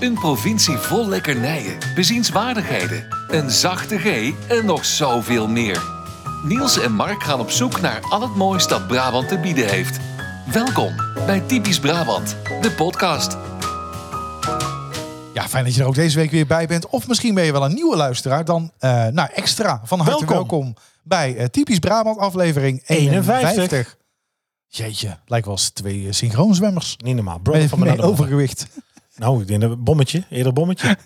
Een provincie vol lekkernijen, bezienswaardigheden, een zachte G en nog zoveel meer. Niels en Mark gaan op zoek naar al het moois dat Brabant te bieden heeft. Welkom bij Typisch Brabant, de podcast. Ja, fijn dat je er ook deze week weer bij bent. Of misschien ben je wel een nieuwe luisteraar. Dan eh, nou, extra van harte welkom, Welkom. bij eh, Typisch Brabant aflevering 51. 51. Jeetje, lijkt wel eens twee eh, synchroonzwemmers. Niet normaal. Met Brother van even mijn meer overgewicht. Nou, ik denk een bommetje. Eerder bommetje.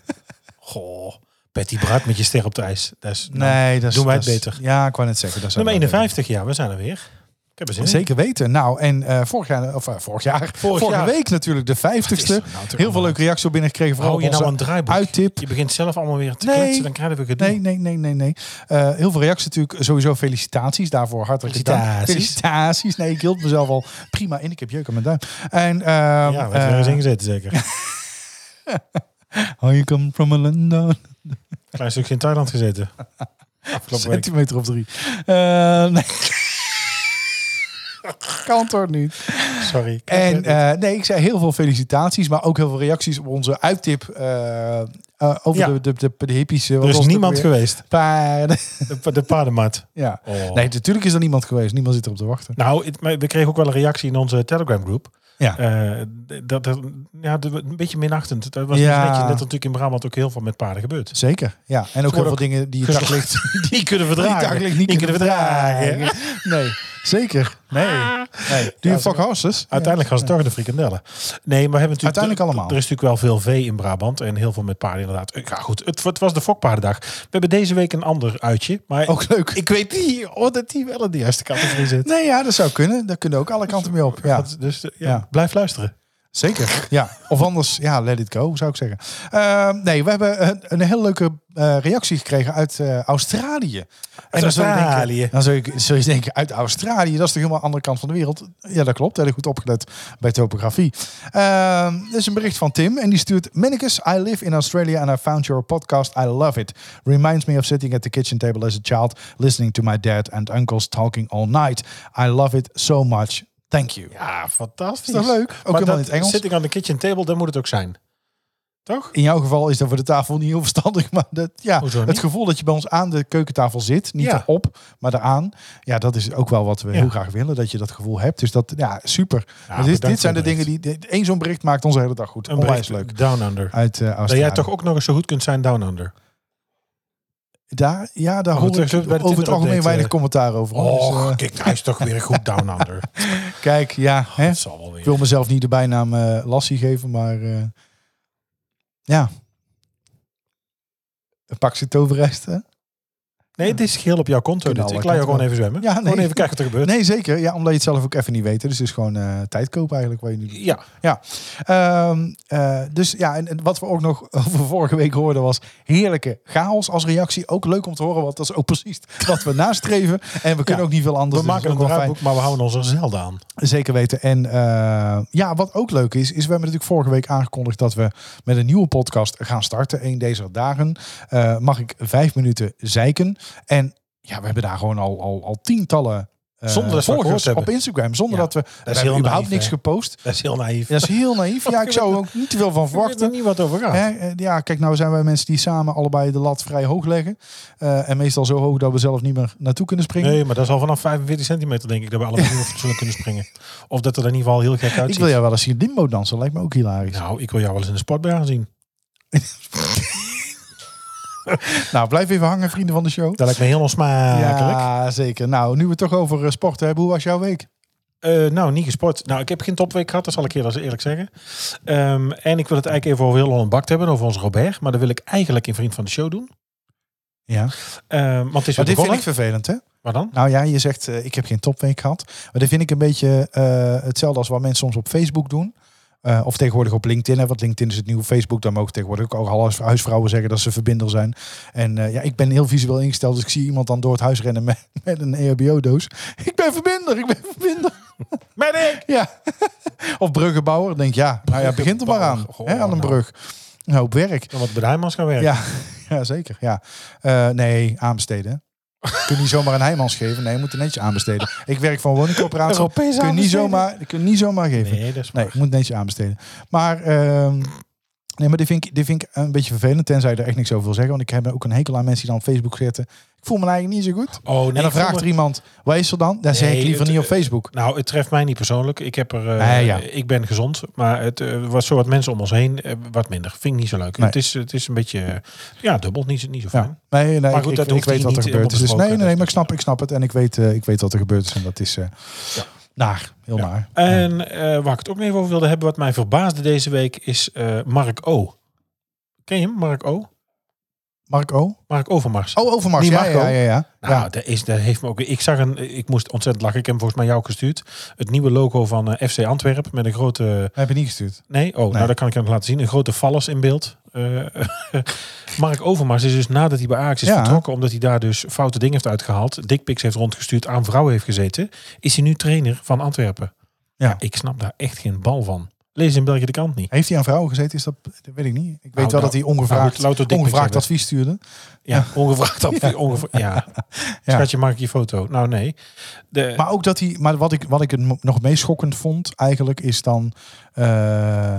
Goh. Patty Brat met je ster op het ijs. Dat is, nou, Nee, dat is... doen wij het dat is- beter. Ja, ik wou net zeggen. Dat zou nummer ik wel 51, ja. We zijn er weer. Ik heb er zin weten. in. Zeker weten. Nou, en eh, vorig jaar, of eh, vorig jaar, vorige jaar. week natuurlijk de Wat is er 50ste. nou toch Heel veel allemaal? leuke reacties op binnengekregen. Vooral Hou je op nou onze een draaiboek? uittip. Je begint zelf allemaal weer te Nee. kletsen. Dan krijgen we gedoe. Nee, nee, nee, nee, nee. Eh, heel veel reacties natuurlijk. Sowieso felicitaties. Daarvoor hartelijk dank. Felicitaties. Felicitaties. Nee, ik hield mezelf al prima in. Ik heb jeuk aan mijn duim. En, ehm, Ja, we hebben er eh, eens ingezet zeker. I come from a London. Klein stukje in Thailand gezeten. Afgelopen week. Centimeter of drie. Eh, nee. kan toch niet. Sorry. En eh, nee, ik zei heel veel felicitaties, maar ook heel veel reacties op onze uittip eh, eh, over Ja. de, de, de, de hippies. eh, wat er was is het ook niemand weer? geweest. Paarden. De, de paardenmat. Ja. Oh. Nee, natuurlijk is er niemand geweest. Niemand zit erop te wachten. Nou, het- maar we kregen ook wel een reactie in onze Telegram groep. Ja. dat, dat, ja, de- een beetje minachtend. Dat was Ja. een beetje, net als natuurlijk in Brabant ook heel veel met paarden gebeurd. Zeker, ja. En ook heel veel worden dingen die je geslacht. daglicht, Die kunnen we die dragen. daglicht niet kunnen dragen. verdragen. Nee, zeker. Nee. nee. Do you fuck horses? Uiteindelijk gaan ze toch de frikandellen. Nee, maar we hebben natuurlijk... Uiteindelijk allemaal. Er is natuurlijk wel veel vee in Brabant en heel veel met paarden inderdaad. Ja goed, het, het was de fokpaardendag. We hebben deze week een ander uitje. Maar Ook leuk. ik weet niet of dat die wel in de juiste categorie zit. Nee, ja, dat zou kunnen. Daar kunnen ook alle kanten mee op. Ja, Dat- Dus eh, ja, Ja. blijf luisteren. zeker. Ja. Of anders, ja, let it go, zou ik zeggen. Ehm, nee, we hebben een, een heel leuke eh, reactie gekregen uit eh, Australië. En dan zou je Australië. denken, dan zou je, zul je denken, uit Australië, dat is toch helemaal de andere kant van de wereld. Ja, dat klopt. Heel goed opgelet bij topografie. Ehm, Dit is een bericht van Tim en die stuurt... Minnicus, I live in Australia and I found your podcast. I love it. Reminds me of sitting at the kitchen table as a child... listening to my dad and uncles talking all night. I love it so much. Thank you. Ja, Is fantastisch. toch leuk? Ook helemaal in het Engels. Zit ik aan de kitchen table, dan moet het ook zijn. Toch? In jouw geval is dat voor de tafel niet heel verstandig. Maar dat, ja, Hoezo niet? het gevoel dat je bij ons aan de keukentafel zit. Niet Ja. erop, maar eraan. Ja, dat is ook wel wat we Ja. heel graag willen. Dat je dat gevoel hebt. Dus dat, ja, super. Maar dit, bedankt dit zijn de voor het dingen die... dit- Eén zo'n bericht maakt onze hele dag goed. Een Onwijs bericht leuk. Down Under. Uit eh, Dat Australië. jij toch ook nog eens zo goed kunt zijn Down Under. Daar, ja, daar Oh, hoor terug ik bij de over het Twitter-update, algemeen eh. weinig commentaar over. hoor. Dus, Oh, eh, kijk, hij is toch weer goed Down Under. kijk, ja. Hè? Dat zal wel Ik weer. wil mezelf niet de bijnaam eh Lassie geven, maar... eh, ja. Een pak zit toverrijst, hè? Nee, het is geheel op jouw konto. Kunnen Dit. Ik alle laat jou kanten gewoon even zwemmen. Ja, nee. Gewoon even kijken wat er gebeurt. Nee, zeker. Ja, omdat je het zelf ook even niet weet. hè. Dus het is gewoon eh, tijd kopen eigenlijk wat je nu doet. Ja, Ehm, eh, dus ja, en, en wat we ook nog over vorige week hoorden was heerlijke chaos als reactie. Ook leuk om te horen, want dat is ook precies wat we nastreven. En we kunnen Ja. ook niet veel we anders. dus maken dat een is ook wel fijn. draaiboek, maar we houden ons er zelden aan. Zeker weten. En eh, ja, wat ook leuk is, is we hebben natuurlijk vorige week aangekondigd dat we met een nieuwe podcast gaan starten. Eén deze dagen Eh, mag ik vijf minuten zeiken. En ja, we hebben daar gewoon al, al, al tientallen eh, Zonder dat we het volgers gehoord op hebben. Instagram. Zonder Ja, dat we, we heel hebben überhaupt naïef, niks hè? gepost. Dat is heel naïef. Dat is heel naïef. Ja, ik zou er ook niet te veel van Ik weet er verwachten. niet wat over gaat. Hè, eh, ja, kijk, nou zijn wij mensen die samen allebei de lat vrij hoog leggen. Eh, en meestal zo hoog dat we zelf niet meer naartoe kunnen springen. Nee, maar dat is al vanaf 45 centimeter denk ik dat we allemaal niet meer fatsoenlijk kunnen springen. Of dat er in ieder geval heel gek ik uitziet. wil jou wel eens zien limbo dansen. Lijkt me ook hilarisch. Nou, ik wil jou wel eens in de sportbar gaan zien. Nou, blijf even hangen, vrienden van de show. Dat lijkt me heel onsmakelijk. Ja, zeker. Nou, nu we het toch over eh, sport hebben, hoe was jouw week? Eh, nou, niet gesport. Nou, ik heb geen topweek gehad, dat zal ik eerlijk eerlijk zeggen. Ehm, en ik wil het eigenlijk even over heel Holland Bakt hebben, over ons Robert. Maar dat wil ik eigenlijk in Vriend van de Show doen. Ja, Ehm, want het is maar weer dit vind begonnen. ik vervelend, hè? Maar dan? Nou ja, je zegt, eh, ik heb geen topweek gehad. Maar dit vind ik een beetje eh, hetzelfde als wat mensen soms op Facebook doen. Eh, of tegenwoordig op LinkedIn. Hè, want LinkedIn is het nieuwe Facebook. Daar mogen tegenwoordig ook alle huis- huisvrouwen zeggen dat ze verbinder zijn. En eh, ja, ik ben heel visueel ingesteld. Dus ik zie iemand dan door het huis rennen met, met een E EHBO-doos. Ik ben verbinder, ik ben verbinder. Met ik! Ja. of bruggenbouwer. Denk ja, nou ja, begint er maar aan. Bruggenbouwer, hè, aan een nou. brug. Een hoop werk. Dan wat bij de Heijmans gaan werken. Ja, ja zeker. Ja. Eh, nee, aanbesteden. Kun je niet zomaar een heimans geven. Nee, je moet het netjes aanbesteden. Ik werk voor een woningcorporatie. Europees Kun je niet aanbesteden? zomaar, kun je niet zomaar geven. Nee, dat is Nee, waar. ik moet netjes aanbesteden. Maar ehm, Nee, maar die vind, ik, die vind ik een beetje vervelend, tenzij je er echt niks over wil zeggen. Want ik heb ook een hekel aan mensen die dan op Facebook zetten. Ik voel me eigenlijk niet zo goed. Oh, nee, en ik voel dan vraagt me- er iemand, waar is er dan? Daar zeg ik Nee, liever het- niet op Facebook. Nou, het treft mij niet persoonlijk. Ik, heb er, eh, Nee, ja. ik ben gezond, maar het eh, was zo wat mensen om ons heen eh, wat minder. Vind ik niet zo leuk. Nee. Het, is, het is een beetje eh, ja, dubbel, niet, zo- niet zo fijn. Ja. Nee, nee, Maar goed, ik, dat ik, ik hoeft weet hier wat er niet gebeurd is. Dus nee, helemaal nee, nee, maar ik snap, besproken. ik snap het. En ik weet, eh, ik weet wat er gebeurd is. En dat is eh, Ja. naar, heel Ja. naar. En eh, waar ik het ook nog even over wilde hebben, wat mij verbaasde deze week, is eh, Mark O. Ken je hem, Mark O? Marco? Mark Overmars. Oh, Overmars. Die Ja, Marco. ja, ja, ja. Nou, ja. dat, is, dat heeft me ook. Ik zag een. Ik moest ontzettend lachen. Ik heb hem volgens mij jou gestuurd. Het nieuwe logo van eh, FC Antwerpen met een grote. Heb je niet gestuurd? Nee, oh, nou dat kan ik hem laten zien. Een grote vallers in beeld. Eh, Mark Overmars is dus nadat hij bij Ajax is Ja. vertrokken, omdat hij daar dus foute dingen heeft uitgehaald, dickpics heeft rondgestuurd, aan vrouwen heeft gezeten, is hij nu trainer van Antwerpen. Ja. Ik snap daar echt geen bal van. Lees in België de krant niet. Heeft hij aan vrouwen gezeten? Is dat, dat weet ik niet. Ik weet wel nou, dat hij ongevraagd, nou, louter dickpics ongevraagd hebben. advies stuurde. Ja, ongevraagd. Ja. ja. Ja. Schatje, maak ik je foto? Nou, nee. De, Maar ook dat hij. Maar wat ik, wat ik het mo- nog meest schokkend vond, eigenlijk, is dan. eh,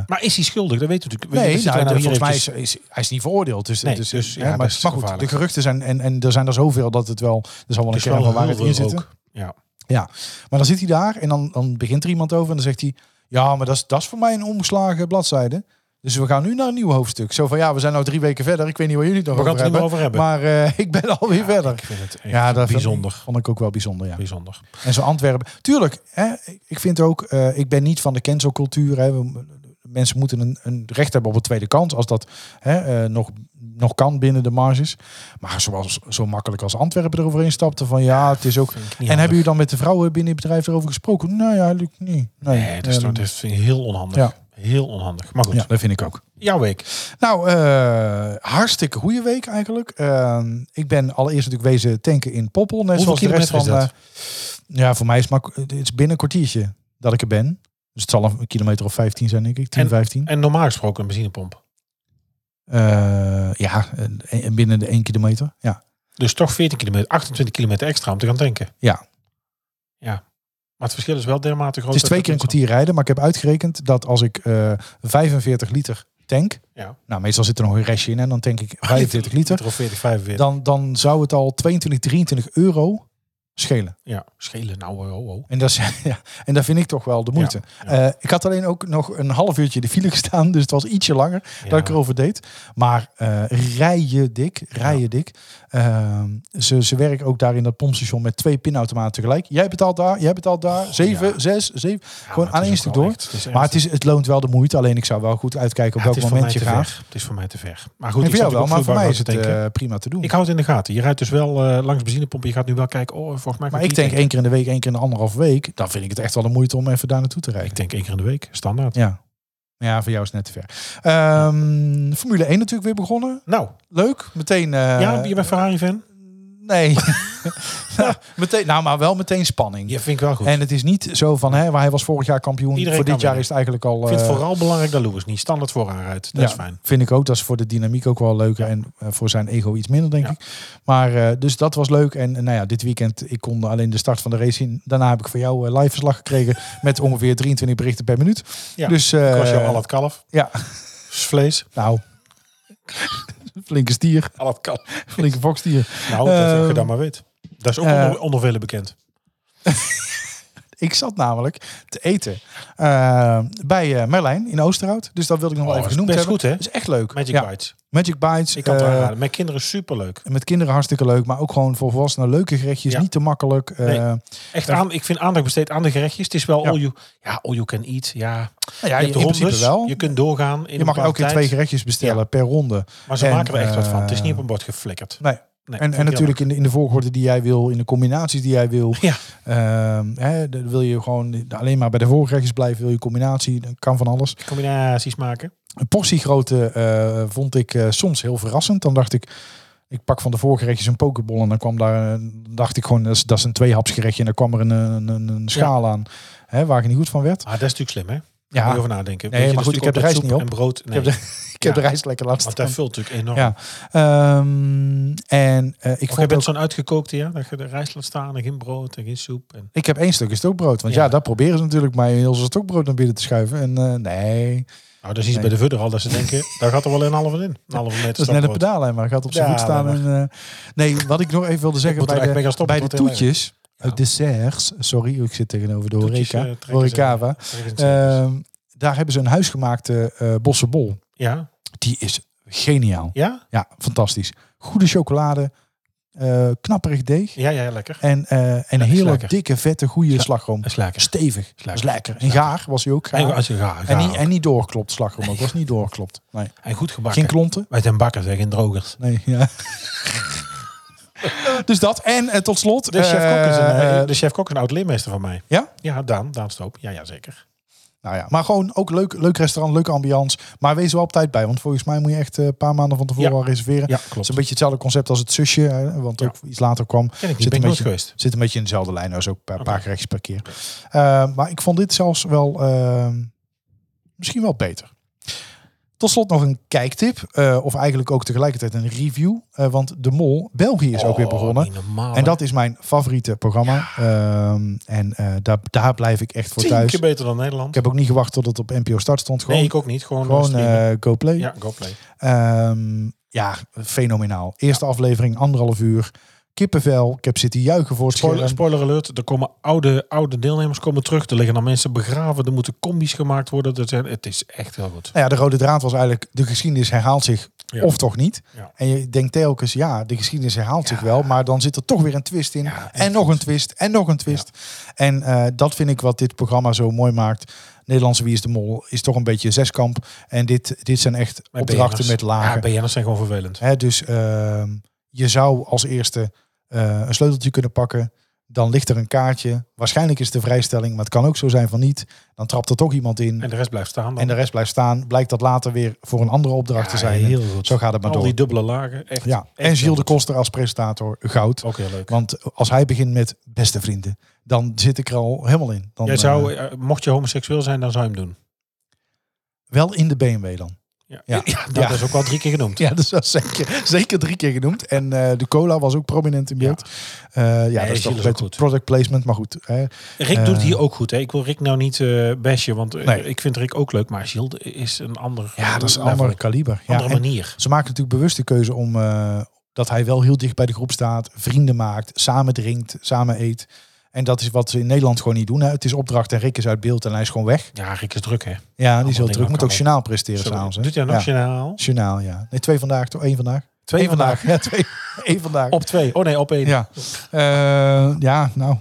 Maar is hij schuldig? Dat weten we natuurlijk. nee, we zitten nou, nou hier volgens mij is, eventjes- is- hij is niet veroordeeld. Dus, Nee, dus, dus, ja, hè, dat maar, is maar goed, de gevaarlijk. geruchten zijn. En, en er zijn er zoveel dat het wel. Er zal wel een Dus kern wel van waarheid heel in veel zitten. rook. Ja. Ja, maar dan zit hij daar en dan, dan begint er iemand over en dan zegt hij... Ja, maar dat is, dat is voor mij een omgeslagen bladzijde. Dus we gaan nu naar een nieuw hoofdstuk. Zo van, ja, we zijn nou drie weken verder. Ik weet niet waar jullie het nog We gaan over het er niet hebben. meer over hebben. Maar eh, ik ben alweer verder. Ik vind het echt Ja, dat vind- bijzonder. vond ik ook wel bijzonder, ja. Bijzonder. En zo Antwerpen. Tuurlijk, hè, ik vind ook... eh, ik ben niet van de cancelcultuur. Hè. We- Mensen moeten een, een recht hebben op een tweede kans. Als dat hè, eh, nog, nog kan binnen de marges. Maar zoals, zo makkelijk als Antwerpen eroverheen stapte van... Ja, het is ook Vind ik niet en handig. hebben jullie dan met de vrouwen binnen het bedrijf erover gesproken? Nou ja, lukt niet. Nee, Nee, dat, is, toch- Ehm, dat vind ik heel onhandig. Ja. Heel onhandig. Maar goed, ja, dat vind ik ook. jouw week. Nou, eh, hartstikke goede week eigenlijk. Ehm, ik ben allereerst natuurlijk wezen tanken in Poppel. Net Hoeveel zoals de rest van... kilometer is eh, ja, voor mij is het maar, het is binnen een kwartiertje dat ik er ben. Dus het zal een kilometer of 15 zijn, denk ik. 10, 15. En normaal gesproken een benzinepomp. Eh, ja, en- en binnen de 1 kilometer. Ja, Dus toch 14 kilometer, 28 kilometer extra om te gaan tanken. ja. Maar het verschil is wel dermate groot. Het is twee dat keer een mensen- kwartier rijden, maar ik heb uitgerekend dat als ik eh 45 liter tank... Ja. Nou, meestal zit er nog een restje in en dan denk ik 45 liter. Liter of 40, 45. dan, dan zou het al 22, 23 euro schelen. Ja, schelen. Nou, oh, oh, oh. En dat, is, ja, en dat vind ik toch wel de moeite. Ja, Eh, ik had alleen ook nog een half uurtje in de file gestaan. Dus het was ietsje langer Ja. dat ik erover deed. Maar eh rijden dik, rijden dik. Ehm, ze, ze werken ook daar in dat pompstation met twee pinautomaten tegelijk. Jij betaalt daar, jij betaalt daar. zeven, ja. zes, zeven. gewoon maar het aan is één ook stuk wel door. echt- het is maar echt- het, is, het loont wel de moeite. Alleen ik zou wel goed uitkijken op Ja, welk het is voor moment je mij te gaat. ver. Het is voor mij te ver. Maar goed, En ik voor jou zat ook wel, maar voor vloeibaar mij aan is het te denken. eh, prima te doen. Ik hou het in de gaten. Je rijdt dus wel eh, langs benzinepompen. Je gaat nu wel kijken. Oh, volgens mij. Maar kan ik denk hier één keer in de week, één keer in de anderhalf week. Dan vind ik het echt wel de moeite om even daar naartoe te Ik rijden. denk één keer in de week. Standaard. Ja. Ja, voor jou is het net te ver. Ehm, Formule 1 natuurlijk weer begonnen. Nou, Leuk. Meteen. eh, ja, je bent Ferrari-fan. Nee. Nou, meteen, nou, maar wel meteen spanning. Je vind ik wel goed. En het is niet zo van, hè, waar hij was vorig jaar kampioen. Iedereen voor dit kan jaar winnen. is het eigenlijk al. ik vind het eh, vooral belangrijk dat Lewis niet standaard vooraan rijdt. Dat ja, is fijn. Vind ik ook. Dat is voor de dynamiek ook wel leuk. En eh, voor zijn ego iets minder, denk Ja. ik. Maar eh, dus dat was leuk. En eh, nou ja, dit weekend, ik kon alleen de start van de race zien. Daarna heb ik van jou eh, live verslag gekregen met ongeveer 23 berichten per minuut. Ja, dus Ik was jou eh, al het kalf. Ja, Vlees. nou. Flinke stier, Al het kalf. flinke fokstier. Nou, dat Ehm, je dat maar weet. Dat is ook eh, onder, onder velen bekend. Ik zat namelijk te eten eh, bij eh Merlijn in Oosterhout. Dus dat wilde ik nog wel Oh, even dat is genoemd best hebben. goed, hè? Dat is echt leuk. Magic ja. Bites. Magic Bites. Ik kan het eh, aanraden. Mijn kinderen superleuk. met kinderen hartstikke leuk, maar ook gewoon voor volwassenen leuke gerechtjes. Ja. Niet te makkelijk. eh, Nee. Echt aan, ik vind aandacht besteed aan de gerechtjes. Het is wel Ja. all you, ja, all you can eat. Ja, Nou ja, je hebt in rondes. principe wel. Je kunt doorgaan. In Je mag elke elke keer twee gerechtjes bestellen Ja. per ronde. Maar ze En, maken er echt wat van. Het is niet op eh, een bord geflikkerd. Nee. Nee, en vind en ik natuurlijk in de, in de volgorde die jij wil, in de combinaties die jij wil. jammer. Ja, Ehm, hè, dan wil je gewoon alleen maar bij de voorgerechtjes blijven, wil je combinatie, dan kan van alles. combinaties maken. Een portiegrootte eh, vond ik eh, soms heel verrassend. Dan dacht ik, ik pak van de voorgerechtjes een pokeball en dan kwam daar, een- dacht ik gewoon, dat is, dat is een tweehapsgerechtje en dan kwam er een, een, een- een schaal aan hè, waar ik niet goed van werd. Ah, dat is natuurlijk slim, hè? Ja. Ja. Moet je over nadenken. Nee, Weet je, dus maar goed, dat is ik heb de natuurlijk rijst niet soep op. En brood, nee. heb de- Ik heb de reis lekker laten Want staan. daar vult natuurlijk enorm. Ja, Ja, Ehm, en eh, ik ik jij vond bent ook, zo'n uitgekookte, ja? Dat je de rijst laat staan en geen brood en geen soep. En... ik heb één stukje stokbrood. Want ja, Ja. daar proberen ze natuurlijk mij heel zijn stokbrood naar binnen te schuiven. En eh, nee, Nou, dat is iets bij de Vudder al dat ze denken, daar gaat er wel een halve in. Een halve meter Dat is net een pedalen, maar gaat op zijn Ja, voet staan. maar- En, eh, nee, wat ik nog even wilde zeggen moet er bij echt mee de, gaan stoppen, bij de het wordt heel toetjes, Ja. eh, desserts, sorry, ik zit tegenover de Toetjes, horeca, eh, trekken ze- horecava. pedalen. Ehm, daar hebben ze een huisgemaakte eh bossenbol. ja, Die is geniaal. ja, Ja, fantastisch. Goede chocolade, eh, knapperig deeg ja, ja, lekker. en, eh en is heerlijk lekker. dikke, vette, goede slagroom. Dat is lekker. Stevig, lekker. dat is lekker. Is En gaar was hij ook. gaar. En, als je, ja, en, ja, niet, en niet doorklopt slagroom, ook was niet doorklopt. Nee. en goed gebakken. Geen klonten. Wij zijn bakkers, hè, geen drogers. Nee, ja. dus dat. En eh, tot slot. De chef Kok is een, eh, eh, de chef Kok is een oud leermeester van mij. Ja? Ja, Daan, Daan Stoop. Ja, ja, zeker. nou ja, maar gewoon ook leuk, leuk restaurant, leuke ambiance. Maar wees er wel op tijd bij. Want volgens mij moet je echt eh, een paar maanden van tevoren Ja. al reserveren. Ja, Het is klopt. een beetje hetzelfde concept als het zusje. eh, want ook iets later kwam. Ken ik Zit niet, ben een ik nooit beetje geweest. Zit een beetje in dezelfde lijn als ook een paar, Oké. paar gerechtjes per keer. Eh, maar ik vond dit zelfs wel eh, misschien wel beter. Tot slot nog een kijktip. eh, of eigenlijk ook tegelijkertijd een review. eh, want De Mol België is ook weer Oh, begonnen. niet normaal, En dat is mijn favoriete programma. Ehm, en eh, daar, daar blijf ik echt hè. voor tien thuis. keer Ik beter dan Nederland. heb ook niet gewacht tot het op NPO Start stond. Gewoon, nee, ik ook niet. Gewoon, gewoon streamen. eh, GoPlay. ja, go play. Ehm, ja, fenomenaal. Eerste aflevering, anderhalf uur. Kippenvel. Ik heb zitten juichen voor het Spoiler, scherm. spoiler alert, er komen oude, oude deelnemers komen terug. Er liggen dan mensen begraven. Er moeten combi's gemaakt worden. Dat zijn, het is echt heel goed. Nou ja, de rode draad was eigenlijk... de geschiedenis herhaalt zich Ja. of toch niet. Ja. En je denkt telkens, ja, de geschiedenis herhaalt zich wel... maar dan zit er toch weer een twist in. Ja, en nog een twist, en nog een twist. En eh, dat vind ik wat dit programma zo mooi maakt. Nederlandse Wie is de Mol is toch een beetje zeskamp. En dit, dit zijn echt Maar opdrachten BN'ers- met Ja, lagen. BN'ers zijn gewoon vervelend. Hè, dus ehm, je zou als eerste eh, een sleuteltje kunnen pakken. Dan ligt er een kaartje. Waarschijnlijk is het de vrijstelling, maar het kan ook zo zijn van niet. Dan trapt er toch iemand in. En de rest blijft staan dan. En de rest blijft staan. Blijkt dat later weer voor een andere opdracht te Ja, zijn. heel goed. Zo gaat het maar Al door. die dubbele lagen. Echt, ja. echt En Gilles heel de goed. Koster als presentator goud. Ook heel leuk. Want als hij begint met beste vrienden, dan zit ik er al helemaal in. Dan, Jij zou, eh, eh, mocht je homoseksueel zijn, dan zou je hem doen. wel in de BMW dan. Ja, Ja. ja. Ja. dat is ook wel drie keer genoemd. Ja, dat is wel zeker, zeker drie keer genoemd. En eh, de cola was ook prominent in beeld. Eh, Ja, Nee, dat is toch Gilles is een ook beetje goed. product placement, maar goed. Hè. Rick doet het hier ook goed. Hè. Ik wil Rick nou niet eh bashen, want eh, Eh. Nee. ik vind Rick ook leuk. Maar Gilles is een ander Ja, dat is een level. ander kaliber. Ja, andere en manier. ze maken natuurlijk bewust de keuze om eh, dat hij wel heel dicht bij de groep staat, vrienden maakt, samen drinkt, samen eet. En dat is wat ze in Nederland gewoon niet doen. Hè. Het is opdracht en Rick is uit beeld en hij is gewoon weg. Ja, Rick is druk, hè. Ja, die is Allemaal heel dingen druk. Moet kan ook ook. journaal presteren Zo, s'avonds. Doet hij nog ja. journaal? Journaal, ja. Nee, twee vandaag toch? Eén vandaag? Twee Eén vandaag. Ja, twee. Eén vandaag. Op twee. Oh nee, op één. Ja, Eh, ja nou.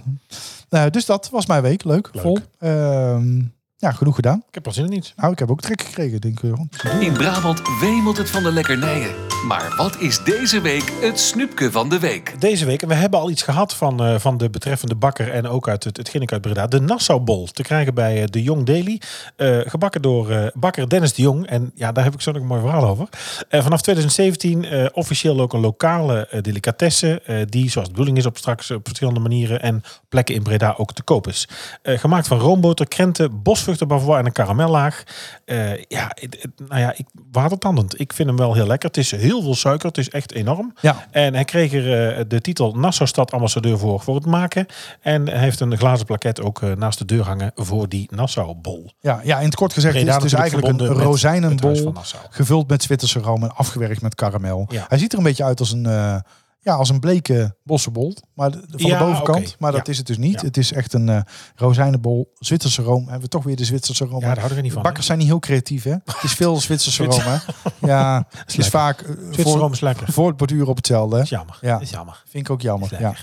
Nou, dus dat was mijn week. Leuk, Leuk. vol. Ehm, ja, genoeg gedaan. Ik heb er zin in iets. Nou, ik heb ook trek gekregen, denk ik. In Brabant wemelt het van de lekkernijen. Maar wat is deze week het snoepje van de week? Deze week, en we hebben al iets gehad van, eh, van de betreffende bakker en ook uit het, hetgeen ik uit Breda. De Nassaubol te krijgen bij eh, de Jong Daily. Eh, gebakken door eh, bakker Dennis de Jong. En ja, daar heb ik zo nog een mooi verhaal over. Eh, vanaf 2017 eh, officieel ook een lokale eh, delicatesse. eh, die, zoals de bedoeling is, op straks op verschillende manieren en plekken in Breda ook te koop is. Eh, gemaakt van roomboter, krenten, bosvruchten, bavois en een karamellaag. Eh, ja, het- het- nou ja, ik, watertandend. Ik vind hem wel heel lekker. Het is heel veel suiker. Het is echt enorm. Ja, En hij kreeg er eh, de titel Nassau-stad ambassadeur voor, voor het maken. En hij heeft een glazen plaket ook eh, naast de deur hangen voor die Nassau-bol. ja, ja, in het kort gezegd Breda is het dus natuurlijk eigenlijk een verbonden met het Huis rozijnenbol. van Nassau. Gevuld met Zwitserse room en afgewerkt met karamel. Ja. Hij ziet er een beetje uit als een, eh, ja, als een bleke bossenbol. Maar de- van Ja, de bovenkant. oké. Maar dat Ja. is het dus niet. Ja. Het is echt een eh rozijnenbol. Zwitserse room. Hebben we toch weer de Zwitserse room. Ja, daar houden we niet van. Bakkers zijn niet heel creatief, hè? Het is veel Zwitserse room, hè? Ja, het is lekker. vaak eh, hè? voor, Room is lekker. Dat voor het borduur op hetzelfde. hè? is jammer. Ja. Dat is jammer. Vind ik ook jammer. Is Ja.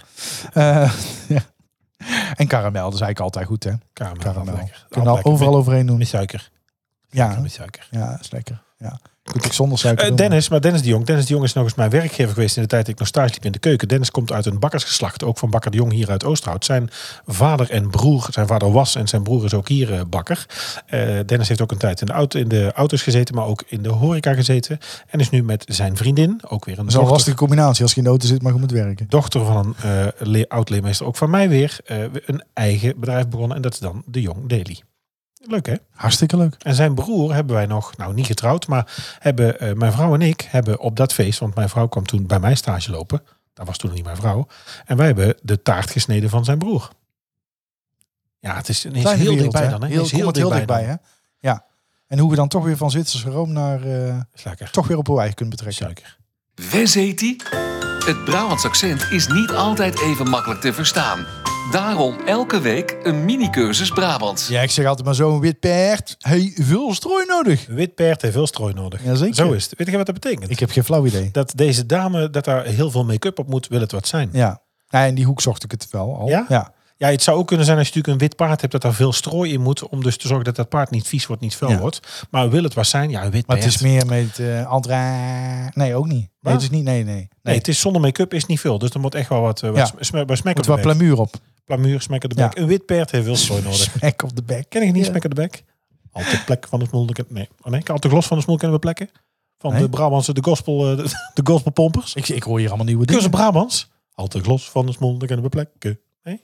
Eh, ja. En karamel, dat is eigenlijk altijd goed, hè? Karamel. altijd Karamel. lekker. Kunnen al Altijd lekker. overal overheen Met, doen. met suiker. Ja, Met suiker. ja, is lekker. Ja. Goed, ik zonder suiker. Eh, doen, Dennis, maar Dennis de Jong. Dennis de Jong is nog eens mijn werkgever geweest in de tijd dat ik nog stage liep in de keuken. Dennis komt uit een bakkersgeslacht, ook van Bakker de Jong hier uit Oosterhout. Zijn vader en broer, zijn vader was en zijn broer is ook hier eh, bakker. Eh, Dennis heeft ook een tijd in de, auto, in de auto's gezeten, maar ook in de horeca gezeten. En is nu met zijn vriendin, ook weer Dat is een wel een dochter lastige combinatie als je in de auto zit, maar je moet werken. dochter van een eh, leer, oud-leermeester, ook van mij weer, eh, een eigen bedrijf begonnen. En dat is dan de Jong Daily. Leuk hè? Hartstikke leuk. En zijn broer hebben wij nog, nou niet getrouwd, maar hebben, eh, mijn vrouw en ik hebben op dat feest, want mijn vrouw kwam toen bij mij stage lopen. Dat was toen nog niet mijn vrouw. En wij hebben de taart gesneden van zijn broer. Ja, het is, het is Kleine heel wereld, dichtbij hè? dan. Hè? Heel, Het is komt heel dichtbij, dan. hè? Ja. En hoe we dan toch weer van Zwitserse room naar eh, Is lekker. toch weer op Hawaii kunnen betrekken. Suiker. Wes heet die? Het Brabants accent is niet altijd even makkelijk te verstaan. Daarom elke week een mini-cursus Brabants. Ja, ik zeg altijd maar zo'n wit paard. Hey, veel strooi nodig. Een Wit paard heeft veel strooi nodig. Jazeker. Zo is het. Weet je wat dat betekent? Ik heb geen flauw idee. Dat deze dame, dat daar heel veel make-up op moet, wil het wat zijn. Ja. Ja. Nee, in die hoek zocht ik het wel al. Ja? ja. het zou ook kunnen zijn als je natuurlijk een wit paard hebt, dat daar veel strooi in moet. Om dus te zorgen dat dat paard niet vies wordt, niet vuil Ja. wordt. Maar wil het wat zijn? Ja, een wit Maar paard. het is meer met eh Andra. Nee, ook niet. Nee, Waar? het is niet. Nee, nee. Nee, Nee, het is zonder make-up is niet veel. Dus er moet echt wel wat, eh, wat Ja. sm- sm- wat smekken moet op wel de bek. plamuur op. Plamuur, smekken de Ja. bek. Een wit paard heeft veel strooi nodig. Smek op de bek. Ken ik niet Ja. smekken de bek? Al de plek van de smoel. Nee, oh, nee. Al de glos van de smoel kunnen we plekken. Van Nee. de Brabantse, de gospel, eh, de, de gospelpompers. Ik, ik hoor hier allemaal nieuwe dingen. Cursus Brabants. Al te glos van de smoel, dan kunnen we plekken. Nee?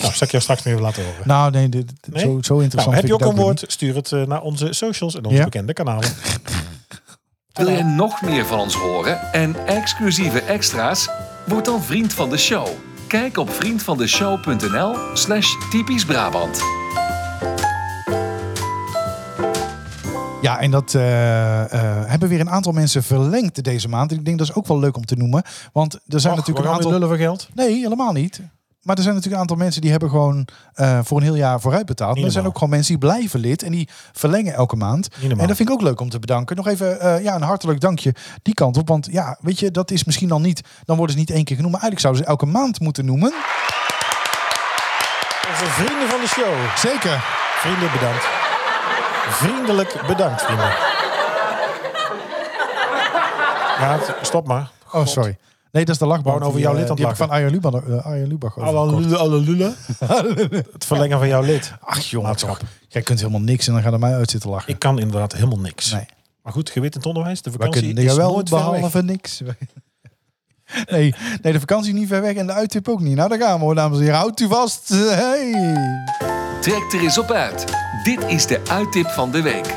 nou, zal ik jou straks nog even laten horen. Nou, nee, dit, dit- Nee? Zo, zo interessant. Nou, heb vind je ook ik een het woord? Stuur het eh, naar onze socials en onze Ja. bekende kanalen. Wil je nog meer van ons horen en exclusieve extra's? Word dan vriend van de show. Kijk op vriendvandeshow.nl slash typisch Brabant. weer. Ja, en dat eh, eh, hebben weer een aantal mensen verlengd deze maand. En ik denk dat is ook wel leuk om te noemen. Want er zijn Och, we natuurlijk een gaan aantal... weer lullen voor geld. Nee, helemaal niet. Maar er zijn natuurlijk een aantal mensen die hebben gewoon eh, voor een heel jaar vooruit betaald. Maar er zijn normaal. ook gewoon mensen die blijven lid en die verlengen elke maand. En normaal. dat vind ik ook leuk om te bedanken. Nog even eh, ja, een hartelijk dankje die kant op. Want ja, weet je, dat is misschien dan niet. Dan worden ze niet één keer genoemd. Maar eigenlijk zouden ze elke maand moeten noemen. Onze vrienden van de show. Zeker. Oh, Vrienden, bedankt. Vriendelijk bedankt, vrienden. Ja, t- stop maar. Oh, sorry. Nee, dat is de lachband. Gewoon over die, jouw eh, lid aan Die heb het ik van Arjen Lubach, eh, Arjen Lubach overgekocht. Allelule. Het verlengen van jouw lid. Ach jongen, Maatschap. toch. Jij kunt helemaal niks en dan gaat er mij uit zitten lachen. Ik kan inderdaad helemaal niks. Nee. Maar goed, gewetend onderwijs, de We vakantie kunnen is er wel nooit ver weg. behalve niks. Nee, nee, de vakantie is niet ver weg en de uittip ook niet. Nou, daar gaan we hoor, dames en heren. Houdt u vast. Hey. Trek er eens op uit. Dit is de uittip van de week.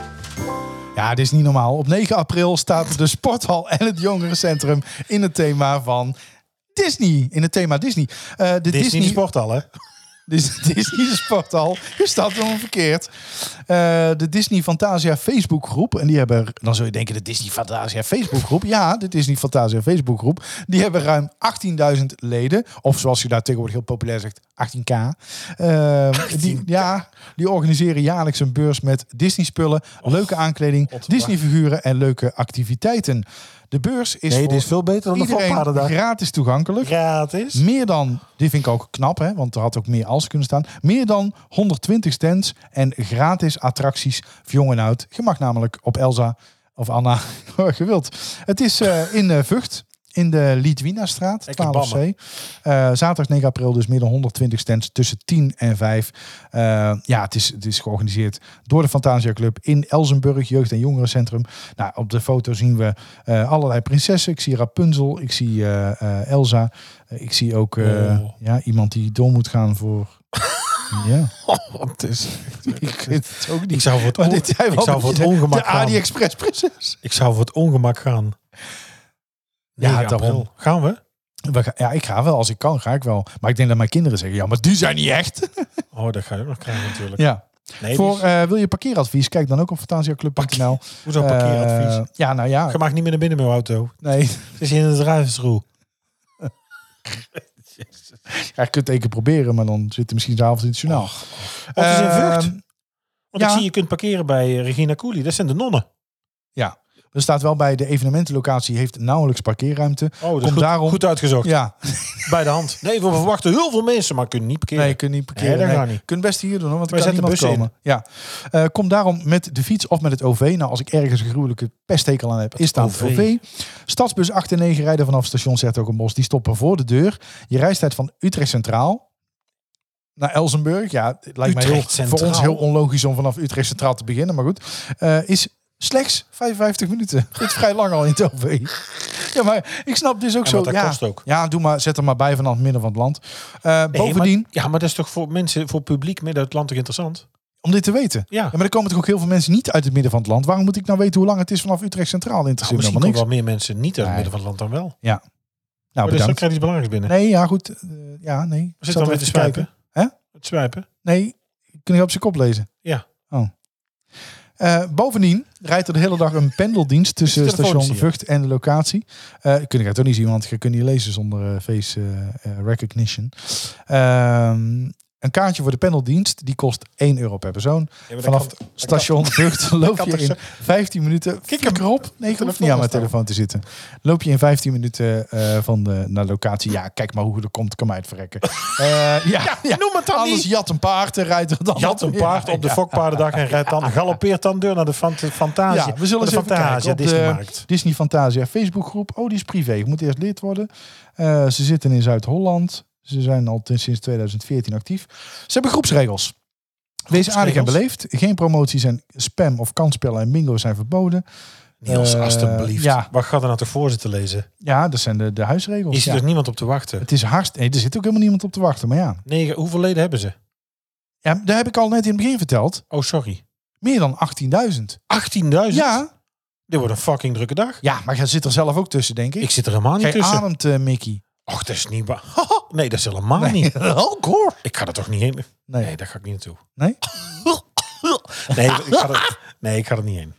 Ja, dit is niet normaal. Op 9 april staat de sporthal en het jongerencentrum in het thema van Disney. In het thema Disney. Eh, de Dit is niet Disney, de sporthal, hè? Dus de Disney Dus Sporthal. Je staat helemaal verkeerd. Eh, de Disney Fantasia Facebookgroep. En die hebben, dan zul je denken, de Disney Fantasia Facebookgroep. Ja, de Disney Fantasia Facebookgroep. Die hebben ruim 18.000 leden. Of zoals je daar tegenwoordig heel populair zegt, 18k. Eh, Die, ja, die organiseren jaarlijks een beurs met Disney spullen. leuke aankleding, Disney figuren en leuke activiteiten. De beurs is Nee, dit is voor veel beter dan de iedereen Volpaardendag. gratis toegankelijk. Gratis. Meer dan, die vind ik ook knap, hè, want er had ook meer als kunnen staan. Meer dan 120 stands en gratis attracties voor jong en oud. Je mag namelijk op Elsa of Anna, waar je wilt. Het is eh, in eh, Vught, in de Litwina-straat, Lekker 12C. Eh, zaterdag 9 april, dus meer dan 120 stands tussen 10 en 5. Eh, ja, het is, het is georganiseerd door de Fantasia Club in Elsenburg, Jeugd- en Jongerencentrum. Nou, op de foto zien we eh, allerlei prinsessen. Ik zie Rapunzel, ik zie eh, eh, Elsa. Eh, ik zie ook eh, Oh. ja, iemand die door moet gaan voor... ja, het is... ik weet het ook Ik niet. zou voor het, Maar on- dit zijn wel ik zou een voor het beetje de- ongemak De gaan. AliExpress prinses. Ik zou voor het ongemak gaan. Ja, 9 april. daarom. Gaan we? We gaan- Ja, ik ga wel. Als ik kan, ga ik wel. Maar ik denk dat mijn kinderen zeggen, ja, maar die zijn niet echt. Oh, dat ga je ook nog krijgen natuurlijk. Ja. Nee, voor, dus- eh, wil je parkeeradvies? Kijk dan ook op fantasiaclub.nl. hoezo parkeeradvies? Eh, ja, nou ja. je mag niet meer naar binnen met je auto. Nee, Het is in het rijstroe. ja, je kunt het één keer proberen, maar dan zit er misschien s'avonds in het journaal. Of het is in Ehm, Vught. Want ja. Oh, ik zie, je kunt parkeren bij eh, Regina Cooley. Dat zijn de nonnen. Ja. Er staat wel bij, de evenementenlocatie heeft nauwelijks parkeerruimte. Oh, dat is Komt goed, daarom- goed uitgezocht. Ja, Bij de hand. Nee, we verwachten heel veel mensen, maar kunnen niet parkeren. nee, je kunt niet parkeren. Nee, dat gaat nee. niet. Kunt best hier doen, hoor, want er Wij kan niemand zetten komen. Ja. Eh, kom daarom met de fiets of met het OV. Nou, als ik ergens een gruwelijke pesthekel aan heb, is dat het OV. OV. Stadsbus 8 en 9 rijden vanaf station Zertogenbos. Die stoppen voor de deur. Je reistijd van Utrecht Centraal naar Elsenburg. Ja, het lijkt mij heel, Utrecht Centraal. voor ons heel onlogisch om vanaf Utrecht Centraal te beginnen. Maar goed, Eh, is slechts 55 minuten. Dit is vrij lang al in het OV. Ja, maar ik snap dus ook En zo. wat dat ja, kost ook. ja, doe maar, zet er maar bij vanaf het midden van het land. Eh, Nee, bovendien, maar- ja, maar dat is toch voor mensen, voor publiek midden uit het land toch interessant? om dit te weten. Ja. Ja, maar er komen toch ook heel veel mensen niet uit het midden van het land. Waarom moet ik nou weten hoe lang het is vanaf Utrecht Centraal? Nou, Interesseert me misschien helemaal komen niks. wel meer mensen niet uit het Nee. midden van het land dan wel. Ja. Nou, Maar dus dan bedankt. krijg je iets belangrijks binnen. Nee, ja, goed. Eh, ja, nee. Ik zat Zit dan even weer te kijken. swipen? Hè? Het swipen? Nee, kun je op zijn kop lezen? Ja. Oh. Eh, Eh, bovendien rijdt er de hele dag een pendeldienst tussen telefoon station zie je. Vught en de locatie. Eh kun je het ook niet zien, want je kunt niet lezen zonder eh, face eh, eh, recognition. Ehm, een kaartje voor de pendeldienst, die kost 1 euro per persoon. Ja, maar dat Vanaf kan- station Vught loop kan je toch in 15 minuten... Kik Klik erop. Nee, ik hoef Telefoon niet aan mijn staan. telefoon te zitten. Loop je in 15 minuten eh, van de, naar de locatie. Ja, kijk maar hoe het komt, kan mij het verrekken. Eh, ja, ja, noem het dan Anders niet. jat een paard en rijdt er dan Jat een op. paard op de Ja. fokpaardendag en rijdt dan, galopeert dan deur naar de fant Fantasia. Ja, we zullen de eens even kijken Fantasia op de Disneymarkt. Disney Fantasia Facebookgroep. Oh, die is privé. Je moet eerst lid worden. Eh, ze zitten in Zuid-Holland. Ze zijn al t- sinds 2014 actief. Ze hebben groepsregels. Wees aardig en beleefd. Geen promoties en spam of kansspellen en bingo zijn verboden. Niels, Eh, alstublieft. ja. Wat gaat er nou toch voor zitten lezen? Ja, dat zijn de, de huisregels. Is ja. er dus niemand op te wachten? Het dus- is hartstikke... Er zit ook helemaal niemand op te wachten, maar ja. Negen, hoeveel leden hebben ze? ja daar heb ik al net in het begin verteld. Oh, sorry. Meer dan 18.000. 18.000? Ja. Dit wordt een fucking drukke dag. ja, maar jij zit er zelf ook tussen, denk ik. Ik zit er helemaal niet Jij tussen. ademt, eh, Mickey. Och, dat is niet waar. Nee, dat is helemaal niet. Alcohol. Ik ga er toch niet heen. Nee. Nee, daar ga ik niet naartoe. Nee? Nee, ik ga er, nee, ik ga er niet heen.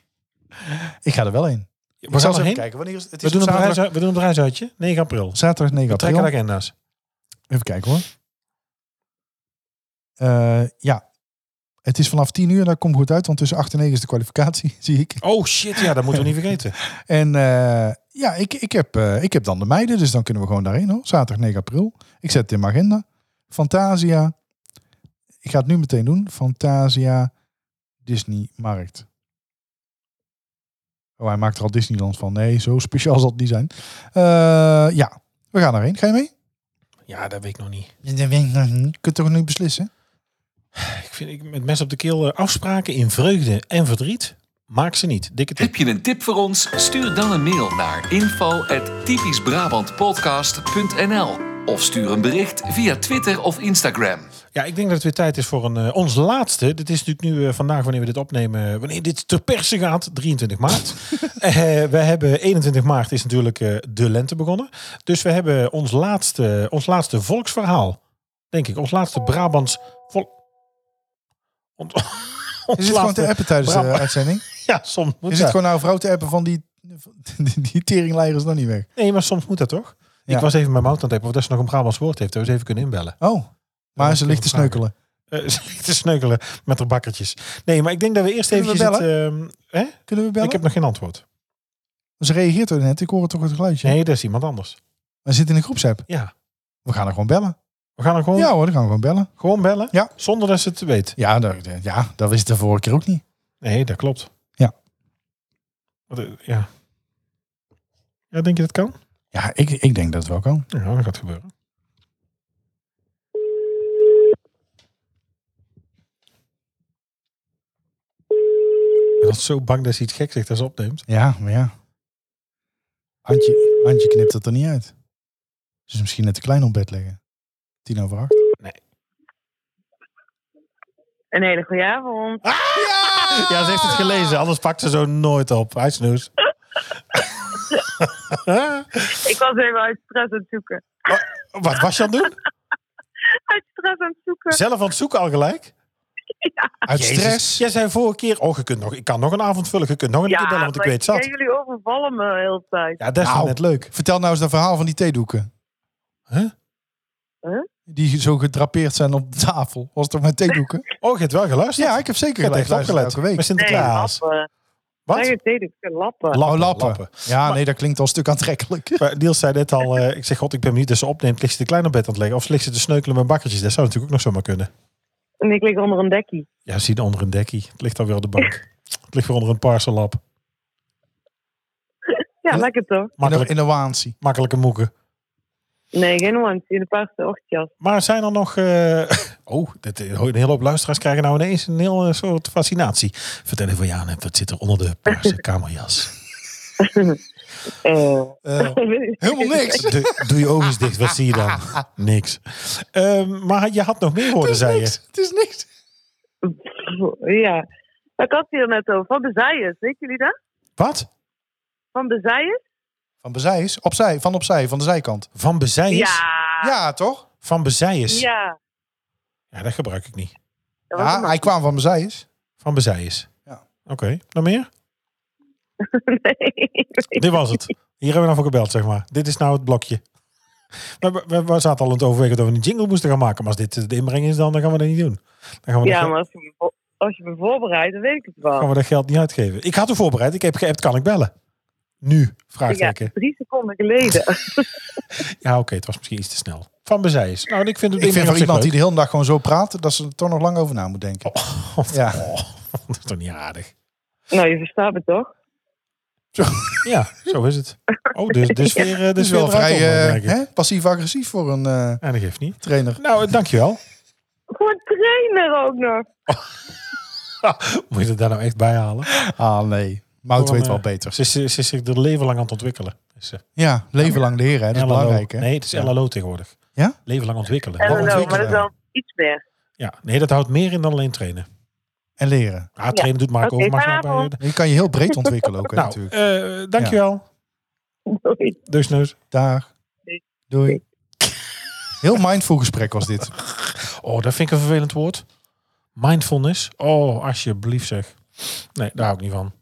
Ik ga er wel heen. We zal gaan eens er even heen. kijken. Wanneer is, het We is doen, op een zaterdag, reis, we doen een reisuitje. 9 april. zaterdag 9 april. Trekken de agenda's. Even kijken hoor. Eh, ja. Het is vanaf 10 uur, dat komt goed uit, want tussen 8 en 9 is de kwalificatie, zie ik. Oh shit, ja, dat moeten we niet vergeten. En eh, ja, ik, ik, heb, eh, ik heb dan de meiden, dus dan kunnen we gewoon daarheen hoor. Zaterdag 9 april. Ik zet het in mijn agenda. Fantasia. Ik ga het nu meteen doen. Fantasia Disney Markt. Oh, hij maakt er al Disneyland van. Nee, zo speciaal zal het niet zijn. Eh, ja, we gaan daarheen. Ga je mee? Ja, dat weet ik nog niet. Dat weet ik nog niet. Je kunt toch nu beslissen? Ik vind ik, met mes op de keel eh, afspraken in vreugde en verdriet. Maak ze niet. Dikke tip. Heb je een tip voor ons? Stuur dan een mail naar info.typischbrabantpodcast.nl of stuur een bericht via Twitter of Instagram. Ja, ik denk dat het weer tijd is voor een, eh, ons laatste. Dit is natuurlijk nu eh, vandaag, wanneer we dit opnemen, eh, wanneer dit ter persen gaat, 23 maart. Eh, we hebben 21 maart is natuurlijk eh, de lente begonnen. Dus we hebben ons laatste, ons laatste volksverhaal, denk ik. Ons laatste Brabants volk... Ons, Is het gewoon te appen tijdens de eh, Brabant. uitzending? Ja, soms moet Is dat. het gewoon nou vrouw te appen van die, die, die teringleier is nog niet weg? Nee, maar soms moet dat toch? Ja. Ik was even mijn mout aan het hebben of dat ze nog een Brabants woord heeft. Dat we ze even kunnen inbellen. Oh, maar moet ze ik ligt te even vragen. sneukelen. Eh, ze ligt te sneukelen met haar bakkertjes. Nee, maar ik denk dat we eerst Kunnen we even... hè? Kunnen we bellen? Ik heb nog geen antwoord. Ze reageert er net. Ik hoor toch het geluidje. Nee, dat is iemand anders. We zitten in een groepsapp. Ja. We gaan er gewoon bellen. We gaan er gewoon, Ja hoor, dan gaan we gewoon bellen. gewoon bellen. Ja. Zonder dat ze het weet. Ja, dat, ja, dat wist ik de vorige keer ook niet. Nee, dat klopt. Ja. Wat, eh, ja. Ja, denk je dat kan? Ja, ik, ik denk dat het wel kan. Ja, dat gaat gebeuren. Ik was zo bang dat ze iets gek zegt als ze opneemt. Ja, maar ja. Antje, Antje knipt het er niet uit. Dus misschien net te klein op bed leggen. Tien over acht. Een hele goede avond. Ah. Ja, ze heeft het gelezen, anders pakt ze zo nooit op. Hij snoes. Ik was even uit stress aan het zoeken. Wat was je aan het doen? Uit stress aan het zoeken. Zelf aan het zoeken al gelijk? Uit Jezus. stress. Jij zei vorige keer, oh, je kunt nog, ik kan nog een avond vullen. Je kunt nog een keer bellen, want ik maar weet het zat. ja, jullie overvallen me de hele tijd. Ja, dat is Nou. net leuk. Vertel nou eens dat verhaal van die theedoeken. Huh? Huh? Die zo gedrapeerd zijn op de tafel. Was het toch met theedoeken? Oh, je hebt wel geluisterd. ja, ik heb zeker je hebt echt geluisterd opgelet. elke week. Met nee, Sinterklaas. lappen. Wat? Nee, het deed ik. Lappen. Oh, lappen. lappen. Ja, nee, dat klinkt al een stuk aantrekkelijk. Maar Niels zei net al, eh, ik zeg, god, ik ben benieuwd dat ze opneemt. Ligt ze te klein op bed aan het leggen? Of ligt ze te sneukelen met bakkertjes? Dat zou natuurlijk ook nog zomaar kunnen. en ik lig onder een dekkie. Ja, zie je onder een dekkie. Het ligt alweer op de bank. Het ligt weer onder een parcellap. Ja, lekker toch? In de, Makkelijk, in de waansie. makkelijke moeken. Nee, geen want In de paarse ochtjas. Maar zijn er nog... eh, oh, dit, een hele hoop luisteraars krijgen nou ineens een heel eh, soort fascinatie. Vertel even van ja, en wat zit er onder de paarse kamerjas? Eh, Eh, helemaal niks. Doe, doe je ogen eens dicht, wat zie je dan? Niks. Ehm, maar je had nog meer Oh, horen, zei je. Het is niks. ja. Ik had het hier net over. Van Bezijers. Weet jullie dat? Wat? Van Bezijers? Van bezij is opzij, van opzij, van de zijkant. Van bezijers? Ja. Ja, toch? Van bezijers? Ja. Ja. dat gebruik ik niet. Dat was Ja, hem. Ah, hij kwam van bezij is. Van bezijers. Ja. Oké, nog meer? nee, ik weet Dit was het. Hier hebben we nou voor gebeld, zeg maar. Dit is nou het blokje. We, we, we zaten al aan het overwegen dat we een jingle moesten gaan maken. Maar als dit de inbreng is, dan, dan gaan we dat niet doen. Dan gaan we, het. dat, Ja, geld- maar als je, me vo- als je me voorbereidt, dan weet ik het wel. gaan we dat geld niet uitgeven. Ik had u voorbereid. Ik heb geappt, kan ik bellen? Nu? Ja, Vraagteken. Ja, drie seconden geleden. oké, het was misschien iets te snel. Van Bezijs. Nou, en ik vind het Ik vind voor iemand die die... de hele dag gewoon zo praat, dat ze er toch nog lang over na moet denken. ja. Ja. dat is toch niet aardig. nou, je verstaat me toch? Ja, zo is het. Oh, dus de sfeer, eh, de Dus sfeer wel draait vrij om, eh, merk ik. hè, passief-agressief voor een eh, Ja, dat geeft niet. trainer. Nou, eh, dankjewel. Voor trainer ook nog. Moet je er daar nou echt bij halen? Ah nee, Mout Gewoon, weet wel eh, beter. Ze is, ze is zich er leven lang aan het ontwikkelen. Is, eh, Ja, leven lang leren, hè, dat is LLO. belangrijk. Hè? Nee, het is LLO tegenwoordig. Ja? Leven lang ontwikkelen. En dan ontwikkelen? maar dat is wel iets meer. Ja, nee, dat houdt meer in dan alleen trainen. En leren. Ah, trainen doet Mark Oké, over. Mag maar bij, vanavond. eh, Je kan je heel breed ontwikkelen ook hè, nou, natuurlijk. eh dankjewel. Dus Doei. Deusneus. Dag. Doei. Heel mindful gesprek was dit. Oh, dat vind ik een vervelend woord. Mindfulness. Oh, alsjeblieft zeg. Nee, daar hou ik niet van.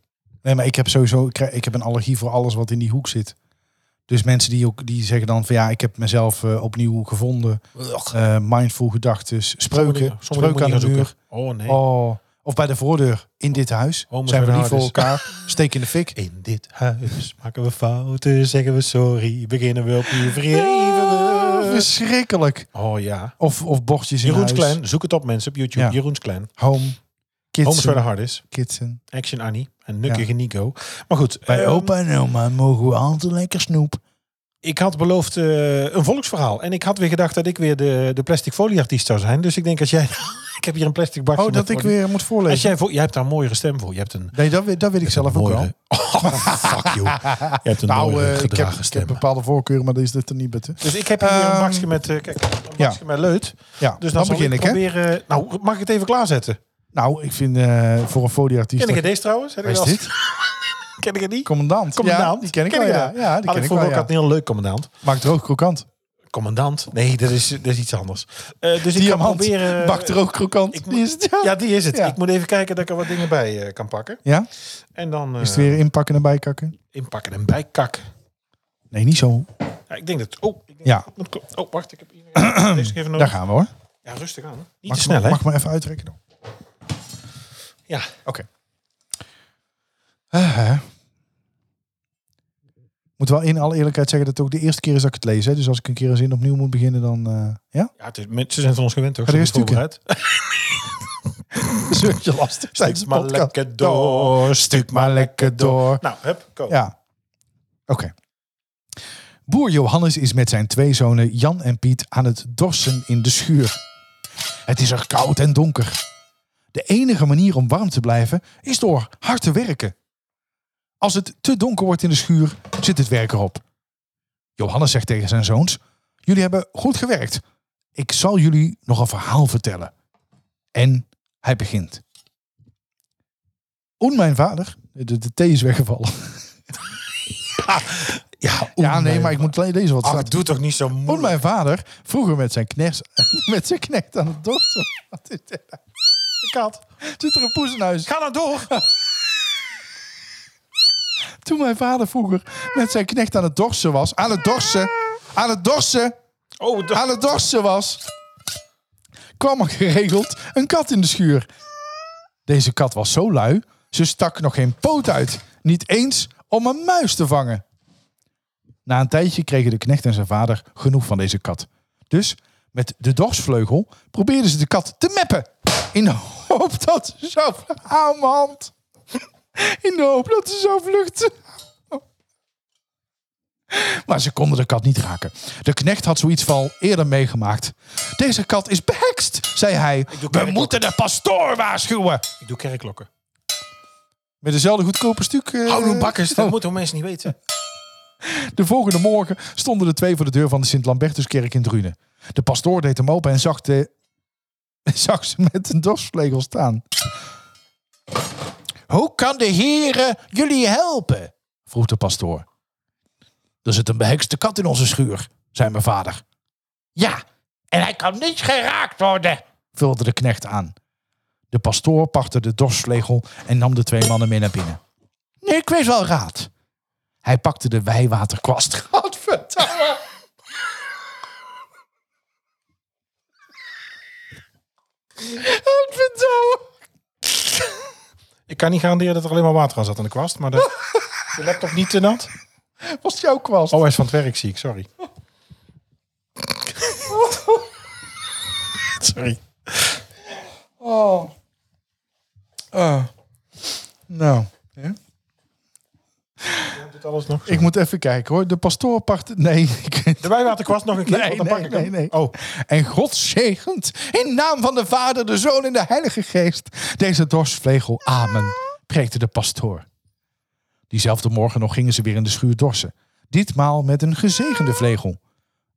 Nee, maar ik heb sowieso ik krijg- ik heb een allergie voor alles wat in die hoek zit. Dus mensen die, ook, die zeggen dan van ja, ik heb mezelf eh, opnieuw gevonden. Eh, mindful gedachten, Sommige spreuken, dingen- sommige dingen moet je spreuken aan gaan de zoeken. muur. Oh nee. Oh, of bij de voordeur in dit huis. Homo's zijn we en niet voor harders. elkaar. Steek in de fik. Oh, In dit huis maken we fouten, zeggen we sorry, beginnen we opnieuw, vergeven we. verschrikkelijk. Oh ja. Of, of bordjes in Jeroens huis. Klein, zoek het op mensen op YouTube. Ja. Jeroens Klein. Home. Homes for the Kitchen. Hardest. kitchen. Action Annie. En Nukkige Ja. Nico. Maar goed. Bij eh, opa en oma mogen we altijd lekker snoep. Ik had beloofd eh, een volksverhaal. En ik had weer gedacht dat ik weer de, de plastic folieartiest zou zijn. Dus ik denk als jij... ik heb hier een plastic bakje. Oh, met dat ik folie. weer moet Als voorlezen. jij, voor, jij hebt daar een mooiere stem voor. Je hebt een... Nee, dat, weet- dat weet ik zelf ook wel. mooiere- Oh, fuck you. Je hebt een Nou, mooiere eh, ik, heb, gedragen ik stem. heb bepaalde voorkeuren, maar dat is dit er niet bij. te- Dus ik heb hier een Ehm, bakje met, eh, kijk, een ja. bakje met leut. Ja, Dus dan dan, zal begin ik, hè? proberen... nou, mag ik het even klaarzetten? Nou, ik vind eh, voor een folieartiest... dat- Ken ik het deze trouwens? Heb ik Waar is wel eens- dit? Ken ik het niet? Commandant. Commandant. Ja, die ken ik Ken wel, je ja. dat? Ja, die Had ken ik ik vroeger wel, ook had ja. een heel leuk commandant. Maakt droog krokant. Commandant? Nee, dat is, dat is iets anders. Eh, dus ik ga Diamant. proberen... Bakt droog krokant. ik moet- Die is het, ja. Ja, die is het. Ja. Ik moet even kijken dat ik er wat dingen bij eh, kan pakken. Ja? En dan eh, Is het weer inpakken en bijkakken? inpakken en bijkakken. Nee, niet zo. Ja, ik denk dat... Oh, ik denk Ja. dat het klopt. oh, wacht. Ik heb hier nog- deze even Daar nodig. gaan we, hoor. Ja, rustig aan. Niet Mag ik te snel, me- hè? Mag ik maar even uitrekken dan? Ja. Oké. Eh, hè. moet wel in alle eerlijkheid zeggen dat het ook de eerste keer is dat ik het lees. Hè? Dus als ik een keer een zin opnieuw moet beginnen, dan... eh, ja? ja het is, mensen zijn van ons gewend, toch? Ga er Ze eens zijn stukken. voorbereid. Zult je lastig zijn. Stuk maar lekker door. Stuk maar Maar lekker door. Nou, hup, go. Ja. Oké. Boer Johannes is met zijn twee zonen Jan en Piet aan het dorsen in de schuur. Het is er koud en donker. De enige manier om warm te blijven is door hard te werken. Als het te donker wordt in de schuur, zit het werk erop. Johannes zegt tegen zijn zoons: Jullie hebben goed gewerkt. Ik zal jullie nog een verhaal vertellen. En hij begint. Oen, mijn vader. De, de thee is weggevallen. Ja, ja, nee, maar ik moet alleen lezen wat Oh, staat. doe toch niet zo Toen moeilijk. mijn vader vroeger met zijn, kners, met zijn knecht aan het dorsen. Wat is dit nou? kat. Zit er een poes in huis? Ga nou door. Toen mijn vader vroeger met zijn knecht aan het dorsen was. Aan het dorsen. Aan het dorsen. Oh, Aan het dorsen was. kwam er geregeld een kat in de schuur. Deze kat was zo lui. Ze stak nog geen poot uit. Niet eens om een muis te vangen. Na een tijdje kregen de knecht en zijn vader genoeg van deze kat. Dus met de dorsvleugel probeerden ze de kat te meppen. In de hoop dat ze zou vluchten. Hou mijn hand. In de hoop dat ze zou vluchten. Maar ze konden de kat niet raken. De knecht had zoiets al eerder meegemaakt. Deze kat is behekst, zei hij. doe We kerk moeten de pastoor waarschuwen. ik doe kerkklokken. Met dezelfde goedkope stuk. eh, Houden bakkers, dat moeten mensen niet weten. De volgende morgen stonden de twee voor de deur van de Sint-Lambertuskerk in Drunen. De pastoor deed hem open en zag, de... zag ze met een dorsvlegel staan. Hoe kan de heren jullie helpen? vroeg de pastoor. Er zit een behekste kat in onze schuur, zei mijn vader. Ja, en hij kan niet geraakt worden, vulde de knecht aan. De pastoor pakte de dorsvlegel en nam de twee mannen mee naar binnen. Nee, ik weet wel raad. Hij pakte de wijwaterkwast. Godverdamme. Godverdamme. Ik kan niet garanderen dat er alleen maar water aan zat aan de kwast, maar dat... de laptop niet te nat. Was jouw kwast? Oh, hij is van het werk, zie ik. Sorry. Sorry. Oh. Eh. nou. Ja. Doet alles nog? Ik moet even kijken hoor. De pastoor pakte... Nee, ik, De wijwaterkwast nog een keer, Nee, want dan nee, pak ik nee, hem. nee. Oh, En God zegent in naam van de Vader, de Zoon en de Heilige Geest deze dorsvlegel. Amen, preekte de pastoor. Diezelfde morgen nog gingen ze weer in de schuur dorsen. Ditmaal met een gezegende vlegel.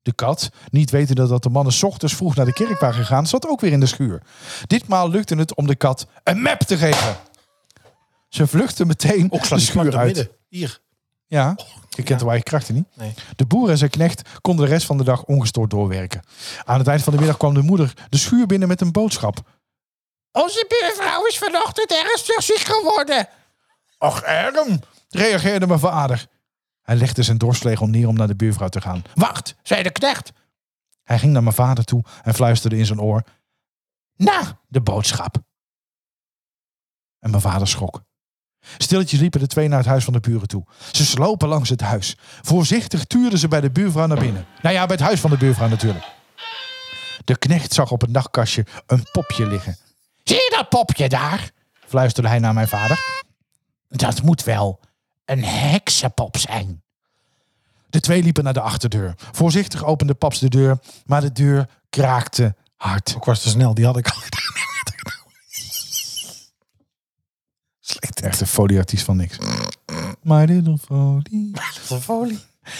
De kat, niet wetende dat de mannen 's ochtends vroeg naar de kerk waren gegaan, zat ook weer in de schuur. Ditmaal lukte het om de kat een map te geven. Ze vluchtte meteen ook de schuur uit. midden. Hier. Ja, je kent de eigen krachten niet. Nee. De boer en zijn knecht konden de rest van de dag ongestoord doorwerken. Aan het eind van de middag kwam de moeder de schuur binnen met een boodschap. Onze buurvrouw is vanochtend ernstig ziek geworden. Och, erm, reageerde mijn vader. Hij legde zijn dorsvlegel neer om naar de buurvrouw te gaan. Wacht, zei de knecht. Hij ging naar mijn vader toe en fluisterde in zijn oor. Na de boodschap. En mijn vader schrok. Stilletjes liepen de twee naar het huis van de buren toe. Ze slopen langs het huis. Voorzichtig tuurden ze bij de buurvrouw naar binnen. Nou ja, bij het huis van de buurvrouw natuurlijk. De knecht zag op het nachtkastje een popje liggen. Zie je dat popje daar? fluisterde hij naar mijn vader. Dat moet wel een heksenpop zijn. De twee liepen naar de achterdeur. Voorzichtig opende Paps de deur, maar de deur kraakte hard. Ik was te snel, die had ik al gedaan. Slecht. Echt een folieartiest van niks. My little folie.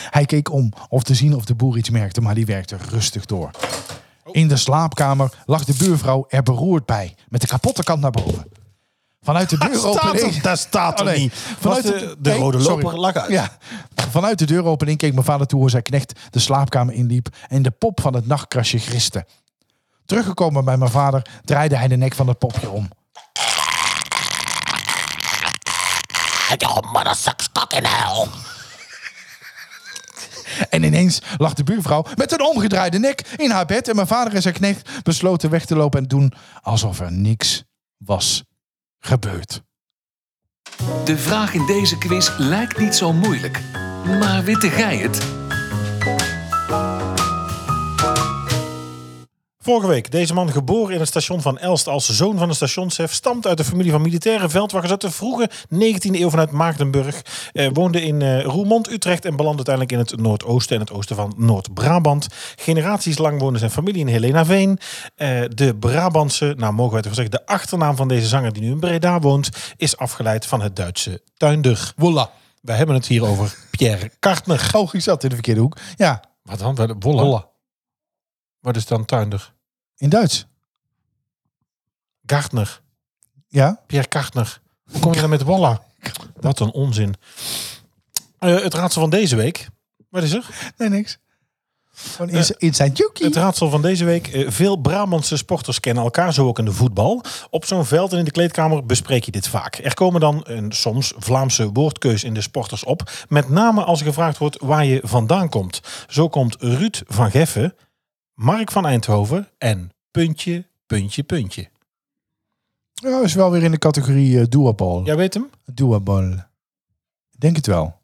Hij keek om of te zien of de boer iets merkte, maar die werkte rustig door. In de slaapkamer lag de buurvrouw er beroerd bij, met de kapotte kant naar boven. Vanuit de deuropening. daar staat Oh, nee. Vanuit de, de nee, rode sorry. loper lag uit. Ja. Vanuit de deuropening keek mijn vader toe hoe zijn knecht de slaapkamer inliep en de pop van het nachtkrasje griste. Teruggekomen bij mijn vader draaide hij de nek van het popje om. En ineens lag de buurvrouw met een omgedraaide nek in haar bed. En mijn vader en zijn knecht besloten weg te lopen en doen alsof er niks was gebeurd. De vraag in deze quiz lijkt niet zo moeilijk. Maar witte gij het? Vorige week, deze man geboren in het station van Elst als zoon van een stationschef, stamt uit de familie van militaire veldwachters uit de vroege 19e eeuw vanuit Maagdenburg. Eh, woonde in eh, Roermond, Utrecht en belandde uiteindelijk in het noordoosten en het oosten van Noord-Brabant. Generaties lang woonde zijn familie in Helena Veen. Eh, de Brabantse, nou mogen wij toch zeggen, de achternaam van deze zanger die nu in Breda woont, is afgeleid van het Duitse tuinder. Voilà. We hebben het hier over Pierre Kartner. Oh, ik zat in de verkeerde hoek. Ja, Wat dan? Wat- Wolla? Wolla. Wat is dan tuinder? in Duits. Gartner. Ja. Pierre Kartner. Hoe kom je dan met Walla? Wat een onzin. Eh, het raadsel van deze week. Wat is er? Nee, niks. Eh, Gewoon in, zijn- in zijn joekie. Het raadsel van deze week. Eh, veel Brabantse sporters kennen elkaar, zo ook in de voetbal. Op zo'n veld en in de kleedkamer bespreek je dit vaak. Er komen dan een soms Vlaamse woordkeus in de sporters op. Met name als er gevraagd wordt waar je vandaan komt. Zo komt Ruud van Geffen, Mark van Eindhoven en puntje, puntje, puntje. Ja, is wel weer in de categorie eh doable. Jij weet hem? Doable. Denk het wel.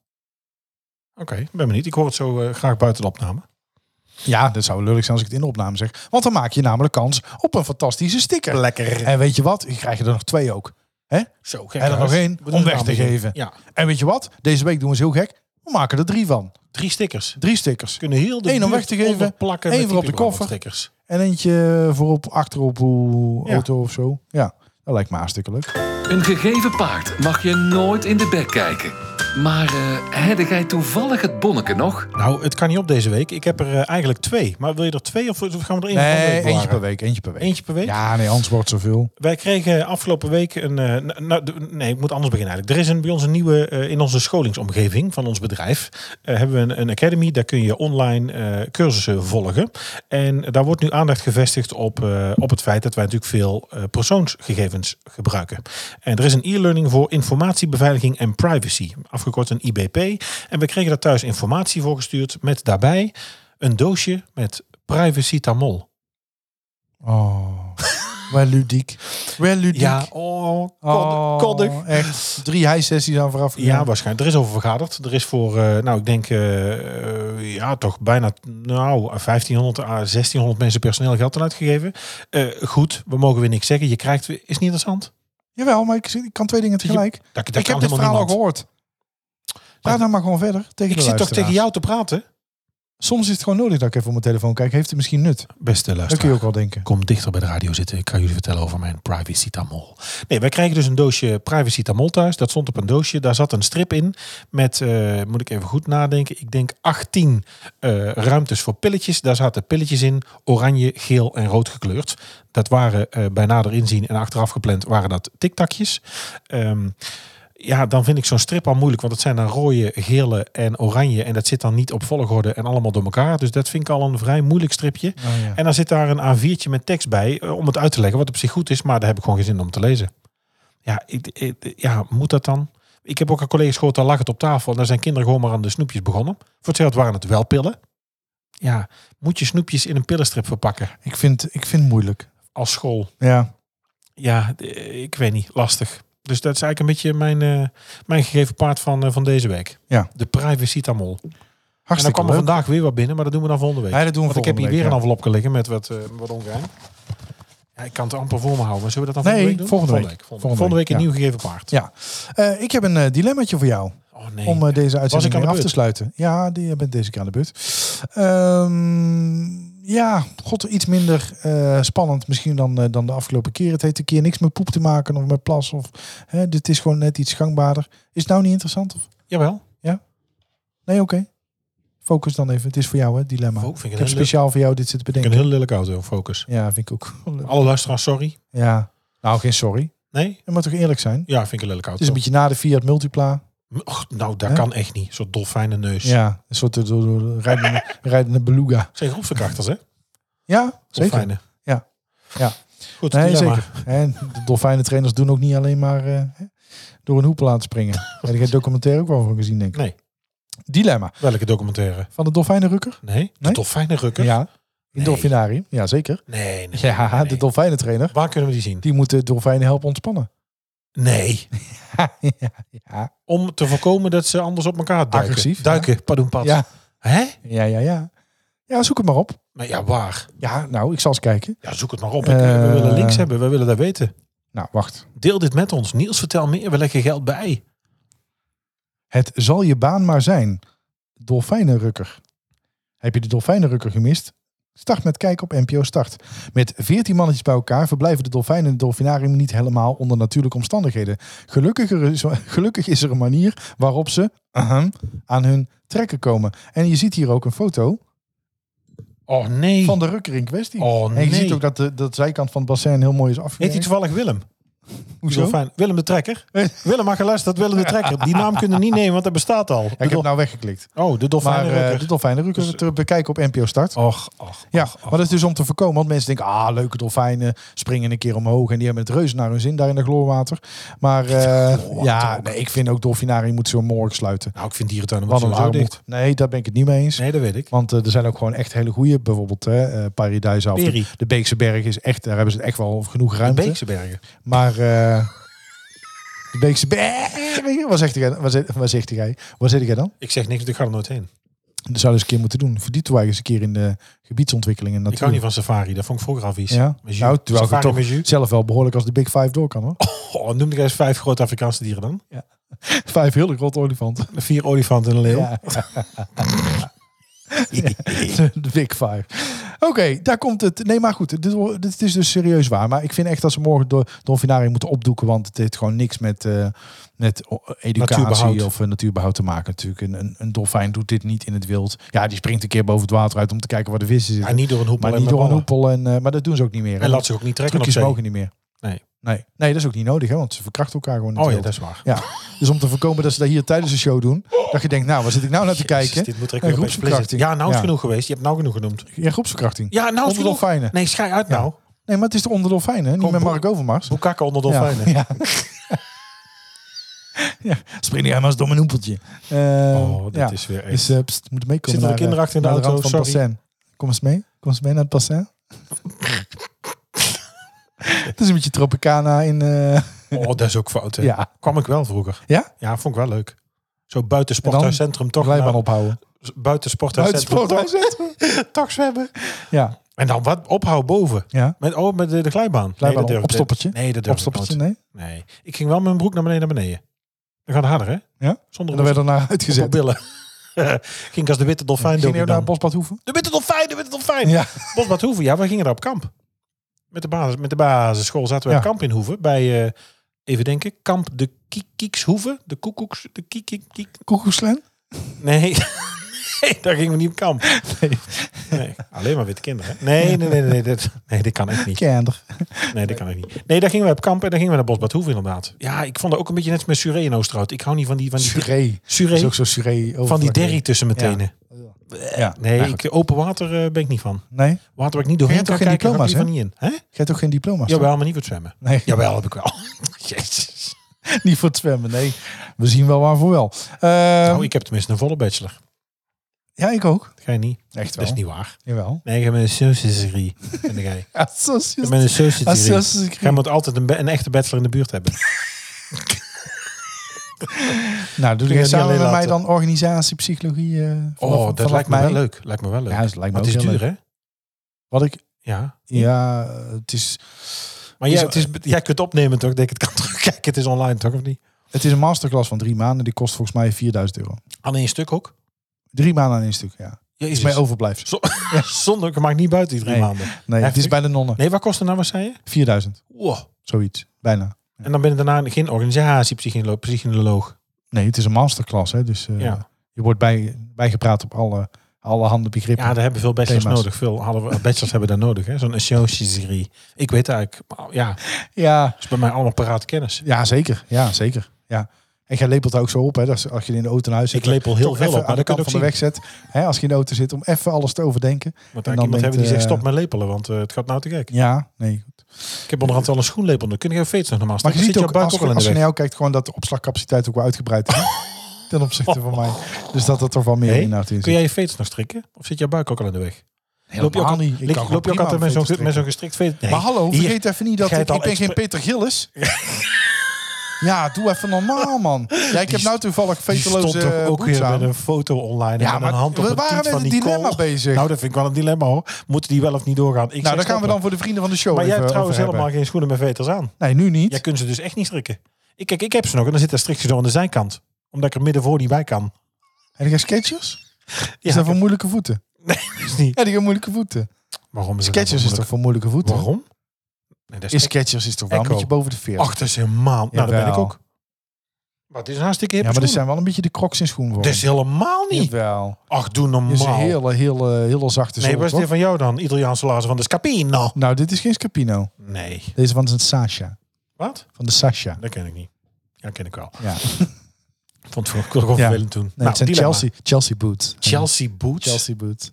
Oké, ben benieuwd. Ik hoor het zo eh, graag buiten de opname. Ja, dat zou lullig zijn als ik het in de opname zeg. Want dan maak je namelijk kans op een fantastische sticker. Lekker. En weet je wat? Ik krijg er nog twee ook. Zo, En gek er huis. nog één Moet om een weg naam te bedenken. geven. Ja, En weet je wat? Deze week doen we ze heel gek. We maken er drie van. drie stickers. Drie stickers. Kunnen heel de Eén om buurt weg te geven, overplakken één met voor op die de koffer. Stickers. En eentje voorop, achterop hoe Ja. auto of zo. Ja, dat lijkt me hartstikke leuk. Een gegeven paard mag je nooit in de bek kijken. Maar eh heb jij toevallig het bonneke nog? Nou, het kan niet op deze week. Ik heb er eh, eigenlijk twee. Maar wil je er twee of of gaan we er één van de Nee, week eentje bewaren? per week, eentje per week. Eentje per week? Ja, nee, anders wordt het zoveel. Wij kregen afgelopen week een. eh, n- nou, d- nee, ik moet anders beginnen eigenlijk. Er is een, bij ons een nieuwe. eh, in onze scholingsomgeving van ons bedrijf. eh, hebben we een, een academy. Daar kun je online eh, cursussen volgen. En daar wordt nu aandacht gevestigd op, eh, op het feit dat wij natuurlijk veel eh, persoonsgegevens gebruiken. En er is een e-learning voor informatiebeveiliging en privacy. Afgekort een IBP. En we kregen daar thuis informatie voor gestuurd. Met daarbij een doosje met privacy tamol. Oh, wel ludiek. Wel ludiek. Ja, oh, Oh, koddig. koddig. Echt drie hijsessies aan vooraf. Ja, gegaan. waarschijnlijk. Er is over vergaderd. Er is voor, eh, nou, ik denk, eh, eh, ja, toch bijna, nou, 1500 à 1600 mensen personeel geld aan uitgegeven. Eh, goed, we mogen weer niks zeggen. Je krijgt, weer- is niet interessant. Jawel, maar ik, ik kan twee dingen je- tegelijk. Dat, dat ik heb kan dit verhaal helemaal al niemand. gehoord. Praat nou maar gewoon verder tegen Ik de zit toch tegen luisteraars. jou te praten? Soms is het gewoon nodig dat ik even op mijn telefoon kijk. Heeft het misschien nut? Beste Dat kun je luisteraar. ook wel denken. Kom dichter bij de radio zitten. Ik ga jullie vertellen over mijn privacy tamol. Nee, wij kregen dus een doosje privacy tamol thuis. Dat stond op een doosje. Daar zat een strip in met, eh, moet ik even goed nadenken, ik denk 18 eh, ruimtes voor pilletjes. Daar zaten pilletjes in, oranje, geel en rood gekleurd. Dat waren eh, bij nader inzien en achteraf gepland waren dat tiktakjes. Ehm ja, dan vind ik zo'n strip al moeilijk. Want het zijn dan rode, gele en oranje. En dat zit dan niet op volgorde en allemaal door elkaar. Dus dat vind ik al een vrij moeilijk stripje. Oh, ja. En dan zit daar een A4'tje met tekst bij eh, om het uit te leggen, wat op zich goed is, maar daar heb ik gewoon geen zin om te lezen. Ja, ik, ik- ja moet dat dan? Ik heb ook aan collega's gehoord, daar lag het op tafel en daar zijn kinderen gewoon maar aan de snoepjes begonnen. Voor hetzelfde waren het wel pillen. Ja, moet je snoepjes in een pillenstrip verpakken Ik, vind, ik vind het moeilijk. als school? Ja. Ja, d- eh, ik weet niet, lastig. Dus dat is eigenlijk een beetje mijn, eh, mijn gegeven paard van, eh, van deze week. Ja. De privacy tamol. En dan Hartstikke kwam er leuk. vandaag weer wat binnen, maar dat doen we dan volgende week. Ja, dat doen we Want ik heb hier volgende weer een week, envelopje liggen met wat, eh wat ongeheim. Ja, ik kan het amper voor me houden. Maar zullen we dat dan Nee, volgende week doen? volgende week. Volgende, Volgende week, week, een nieuw gegeven paard. Ja. Eh, ik heb een eh dilemmaatje voor jou. Oh nee. om eh, deze uitzending aan de weer af beurt? te sluiten. Ja, die, je bent deze keer aan de beurt. Ehm, ja, god, iets minder eh, spannend misschien dan, eh, dan de afgelopen keer. Het heeft een keer niks met poep te maken of met plas. Of, hè, dit is gewoon net iets gangbaarder. Is het nou niet interessant? Of? Jawel. Nee, oké. Focus dan even. Het is voor jou, hè, dilemma. Oh, vind ik een ik heb heel leuk- speciaal voor jou dit zitten Ik heb bedenken. een heel lelijke auto, Focus. Ja, vind ik ook. Alle luisteraars, sorry. Ja. Nou, geen sorry. Nee? Je moet toch eerlijk zijn? Ja, vind ik een lelijke Het auto. is een beetje na de Fiat Multipla. Och, nou, dat Hè? kan echt niet. Zo'n dolfijnenneus. neus. Ja, een soort eh, door- door- rijdende, rijdende beluga. Zijn groepsverkrachters, hè? Ja, zeker. Dolfijnen. Ja. Ja. Goed, Nee, dilemma. zeker. En de dolfijnentrainers doen ook niet alleen maar eh, door een hoepel laten springen. Daar heb je het documentaire ook wel van gezien, denk ik. Nee. Dilemma. Welke documentaire? Van de dolfijnenrukker? Nee? De Nee? dolfijnenrukker? Ja. In Nee. Dolfinarium. Ja, zeker. Nee, nee. Ja, nee, de nee. dolfijnentrainer. Waar kunnen we die zien? Die moet de dolfijnen helpen ontspannen. Nee. ja. Om te voorkomen dat ze anders op elkaar duiken. Agressief, Duiken, pardon, pad. Ja. Hè? ja, ja, ja. Ja, zoek het maar op. Maar ja, waar? Ja, nou, ik zal eens kijken. Ja, zoek het maar op. Eh, we willen links hebben, we willen dat weten. Nou, wacht. Deel dit met ons. Niels, vertel meer. We leggen geld bij. Het zal je baan maar zijn. Dolfijnenrukker. Heb je de dolfijnenrukker gemist? Start met kijken op NPO Start. Met 14 mannetjes bij elkaar verblijven de dolfijnen in het dolfinarium niet helemaal onder natuurlijke omstandigheden. Gelukkig, er is, gelukkig is er een manier waarop ze ahem, aan hun trekken komen. En je ziet hier ook een foto Oh nee. van de rukker in kwestie. Oh en nee. je ziet ook dat de dat zijkant van het bassin heel mooi is Heet hij afgewerkt. toevallig Willem? Hoezo? Zo fijn. Willem de Trekker? Willem had geluisterd, Willem de Trekker. Die naam kunnen we niet nemen, want dat bestaat Ja, al. ik heb De het nou weggeklikt. dol- Oh, Maar de eh, dolfijnenrukker. de dolfijnenrukker Dus- te bekijken op NPO Start. Och, och. Ja, maar dat is dus om te voorkomen. Want mensen denken, ah, leuke dolfijnen springen een keer omhoog. En die hebben het reuze naar hun zin daar in de gloorwater. Maar eh, ja, nee, ik vind ook dolfinarium moet zo morgen sluiten. Nou, ik vind dierentuinen wat Wat een zo dicht. armoed. Nee, daar ben ik het niet mee eens. Nee, dat weet ik. Want eh, er zijn ook gewoon echt hele goede, bijvoorbeeld eh eh, Paradise af. Peri. De Beekse Berg is echt, daar hebben ze echt wel genoeg De ruimte. Beekse Bergen. Maar eh, de Beekse Berg, wat zegt hij? Wat zegt- Wat zegt hij? Wat zit jij dan? Ik zeg niks, want ik ga er nooit heen. Dat zou je eens een keer moeten doen. Verdiept wij eens een keer in de gebiedsontwikkeling en Ik hou natuur. niet van safari, dat vond ik vroeger al vies. Ja, Met jus. nou, terwijl ik het safari toch met Oh. jus. zelf wel behoorlijk als de Big Five door kan hoor. Goh, noem ik eens vijf grote Afrikaanse dieren dan. Vijf hele grote olifanten. Vier olifanten en een leeuw. Ja. de Big Five. Oké, daar komt het. Nee, maar goed, dit, wo- dit is dus serieus waar. Maar ik vind echt dat ze morgen de Dolfinarium moeten opdoeken. Want het heeft gewoon niks met, eh, met o- educatie Natuurbehoud. of eh, natuurbehoud te maken. Natuurlijk, een, een, een dolfijn doet dit niet in het wild. Ja, die springt een keer boven het water uit om te kijken waar de vissen zitten. Maar niet door een hoepel maar en niet met door een ballen. hoepel. En, eh, maar dat doen ze ook niet meer. hè? En laat zich ook niet trekken op Trucjes zee. mogen niet meer. Nee. Nee. nee, dat is ook niet nodig, hè, want ze verkrachten elkaar gewoon in het Oh ja, wild. dat is waar. Ja, dus om te voorkomen dat ze dat hier tijdens de show doen. Dat je denkt, nou, waar zit ik nou naar te Jezus, kijken? dit moet er Een echt weer op groepsverkrachting. explicit. Ja, nou is Ja. genoeg geweest. Je hebt nou genoeg genoemd. Ja, groepsverkrachting. Ja, nou is onder genoeg. dolfijnen. Nee, schij uit Ja. nou. Nee, maar het is de onder dolfijnen, hè? niet Gewoon met Mark Overmars. Boekakken onder dolfijnen. Ja. ja. Spring jij maar eens door mijn hoempeltje. Eh, Oh, dat ja. is weer echt. Dus eh, pst, moeten meekomen Zitten er naar, eh, kinderen achter in de naar auto? rand van het Sorry. bassin. Kom eens mee. Kom eens mee naar het bassin. het is een beetje Tropicana in... eh, Oh, dat is ook fout. hè. ja, Kwam ik wel vroeger. Ja? Ja, vond ik wel leuk. Zo buiten sporthuiscentrum toch. blijf nou, maar ophouden. Uit Buiten sporthuiscentrum toch, sporthuiscentrum. toch zwemmen. Ja, En dan wat ophouden boven. ja. Met, oh, met de, de glijbaan. Glijbaan, dat durf ik- opstoppertje. Nee, dat durf ik Opstoppertje, nooit. nee. Nee. Ik ging wel met mijn broek naar beneden naar beneden. Dan gaat het harder, hè? Ja? En Zonder dan werd er naar uitgezet. op billen. ging ik als de witte dolfijn Ging dook je ik naar dan. het Bosbad Hoeven? De witte dolfijn, de witte dolfijn. Ja. Bosbad Hoeven, ja, we gingen daar op kamp. Met de, basis, met de basisschool zaten we Ja. op kamp in Hoeven. Bij, eh, even denken, kamp de Kiek- Kiekshoeven. De Koekoeks, de Kiek, Kiek, Kiek. Koekoekslen? Nee. nee, daar gingen we niet op kamp. Nee. Alleen maar witte kinderen. hè? Nee, nee, nee, nee, nee, dat, nee, dit kan echt niet. Kinder. Nee, dat kan echt niet. Nee, daar gingen we op kamp en daar gingen we naar Bosbad Hoeven inderdaad. Ja, ik vond dat ook een beetje net als met Suré in Oosterhout. Ik hou niet van die, van die Suré. Suré. Dat is ook zo Suré. van die derry tussen mijn tenen. Ja. Nee, Ja, goed. ik, open water eh, ben ik niet van. Nee? Water waar ik niet doorheen Jij kan hebt toch kijken, geen ga ik liever diploma's, niet in. Hè? Jij hebt ook geen diploma's? hè? Jawel, maar niet voor het zwemmen. Nee, Jawel, heb ik wel. Jezus. niet voor het zwemmen. Nee, we zien wel waarvoor wel. Ehm, Nou, ik heb tenminste een volle bachelor. Ja, ik ook. Dat ga je niet. Echt Dat is niet waar. Jawel. Nee, ik heb een associate's degree. En dan ga je. Ja, zo is het. Ik heb een associate's degree. Associate's degree. Jij moet altijd een, ba- een echte bachelor in de buurt hebben. Nou, doe Ik jij heb niet samen met alleen mij dan laten. organisatie, psychologie? eh, vanaf- Oh, dat vanaf lijkt me mei? wel leuk. Lijkt me wel leuk. Ja, dat lijkt me Maar het is ook heel duur, leuk. hè? Hm? Wat ik... Ja. Ja, het is, Maar jij, Is- Dus het is, jij kunt opnemen, toch? Ik Denk ik, het kan terugkijken. Het is online, toch? Of niet? het is een masterclass van drie maanden. Die kost volgens mij 4000 euro. Aan één stuk ook? Dus- Drie maanden aan één stuk, ja. Is mij Jezus. overblijft. Zo- Zonder, maakt niet buiten die drie Nee. maanden. Nee, het Heftig. is bij de nonnen. Nee, wat kost het nou, wat zei je? 4000, Wow. zoiets. Bijna. En dan ben je daarna geen organisatiepsycholoog. psycholoog. Nee, het is een masterclass, hè. Dus eh, Ja. je wordt bij, bijgepraat op alle, alle handen begrippen. Ja, daar hebben veel bachelors Thema's. nodig. Veel hadden we- bachelors hebben daar nodig. hè? Zo'n associate's degree. Ik weet eigenlijk, maar ja, het ja, is bij mij allemaal paraat kennis. Ja, zeker. Ja, zeker. Ja. En jij lepelt daar ook zo op, hè? Dat is- als je in de auto naar huis zit. Ik lepel heel toch veel even op, maar aan de dat kan kant ook van de zien. weg zet. Hè, als je in de auto zit, om even alles te overdenken. En Want eigenlijk dan iemand denkt, hebben die zegt, eh, stop met lepelen, want eh, het gaat nou te gek. Ja, nee. Ik heb onderhand wel een schoenlepel. Dan kun je feest nog normaal Maar je Dan ziet zit ook, jouw buik als, wel in als de je naar weg. jou kijkt, gewoon dat de opslagcapaciteit ook wel uitgebreid is. Ten opzichte van mij. Dus dat het er wel meer Hey, inhoud in Kun zit. jij je feest nog strikken? Of zit jouw buik ook al in de weg? Loop je ook, Helemaal niet. Ik lig- kan loop je gewoon ook altijd prima met zo'n een foto met trekken. zo'n gestrikt feest? Nee. Maar hallo, Hier- vergeet even niet dat ga je ik, het al ik ben geen expres- Peter Gillis. Ja, doe even normaal, man. Ja, ik heb nou toevallig die stond veteloze toch eh, ook boots weer aan. met een foto online Ja, en met maar een hand op we het waren met tiet van een Nicole. dilemma bezig. Nou, dat vind ik wel een dilemma hoor. Moeten die wel of niet doorgaan? Ik zeg Nou, daar gaan we stoppen. dan voor de vrienden van de show Maar jij even hebt trouwens over helemaal hebben. geen schoenen met veters aan. Nee, nu niet. Jij kunt ze dus echt niet strikken. Ik, kijk, ik heb ze nog en dan zit er strikjes door aan de zijkant. Omdat ik er midden voor niet bij kan. En die gaan sketchers? Ja, is dat voor moeilijke voeten? is niet. Ja, die gaan moeilijke voeten. Waarom is het Sketchers is allemaal toch voor moeilijke voeten? moeilijk? Waarom? Nee, dat Is echt- Sketchers is toch wel een Echo. beetje boven de 40? Ach, dat is helemaal... Nou, dat ben ik Jawel. ook. Maar het is een hartstikke hip ja, maar dat zijn wel een beetje de crocs in schoen voor. Dat is helemaal niet. wel. Ach, doe Dit is een normaal. hele, hele, hele zachte nee, zool, wat is dit toch? van jou dan? Italiaanse lazen van de Scapino. Nou, dit is geen Scapino. Nee. Deze van de Sasha. Wat? Van de Sasha. Dat ken ik niet. Ja, ken ik wel. Ja. Nee, Ik vond het gewoon Ja. vervelend toen. het zijn dilemma. Chelsea, Chelsea boots. Nou, Chelsea boots. Chelsea boots.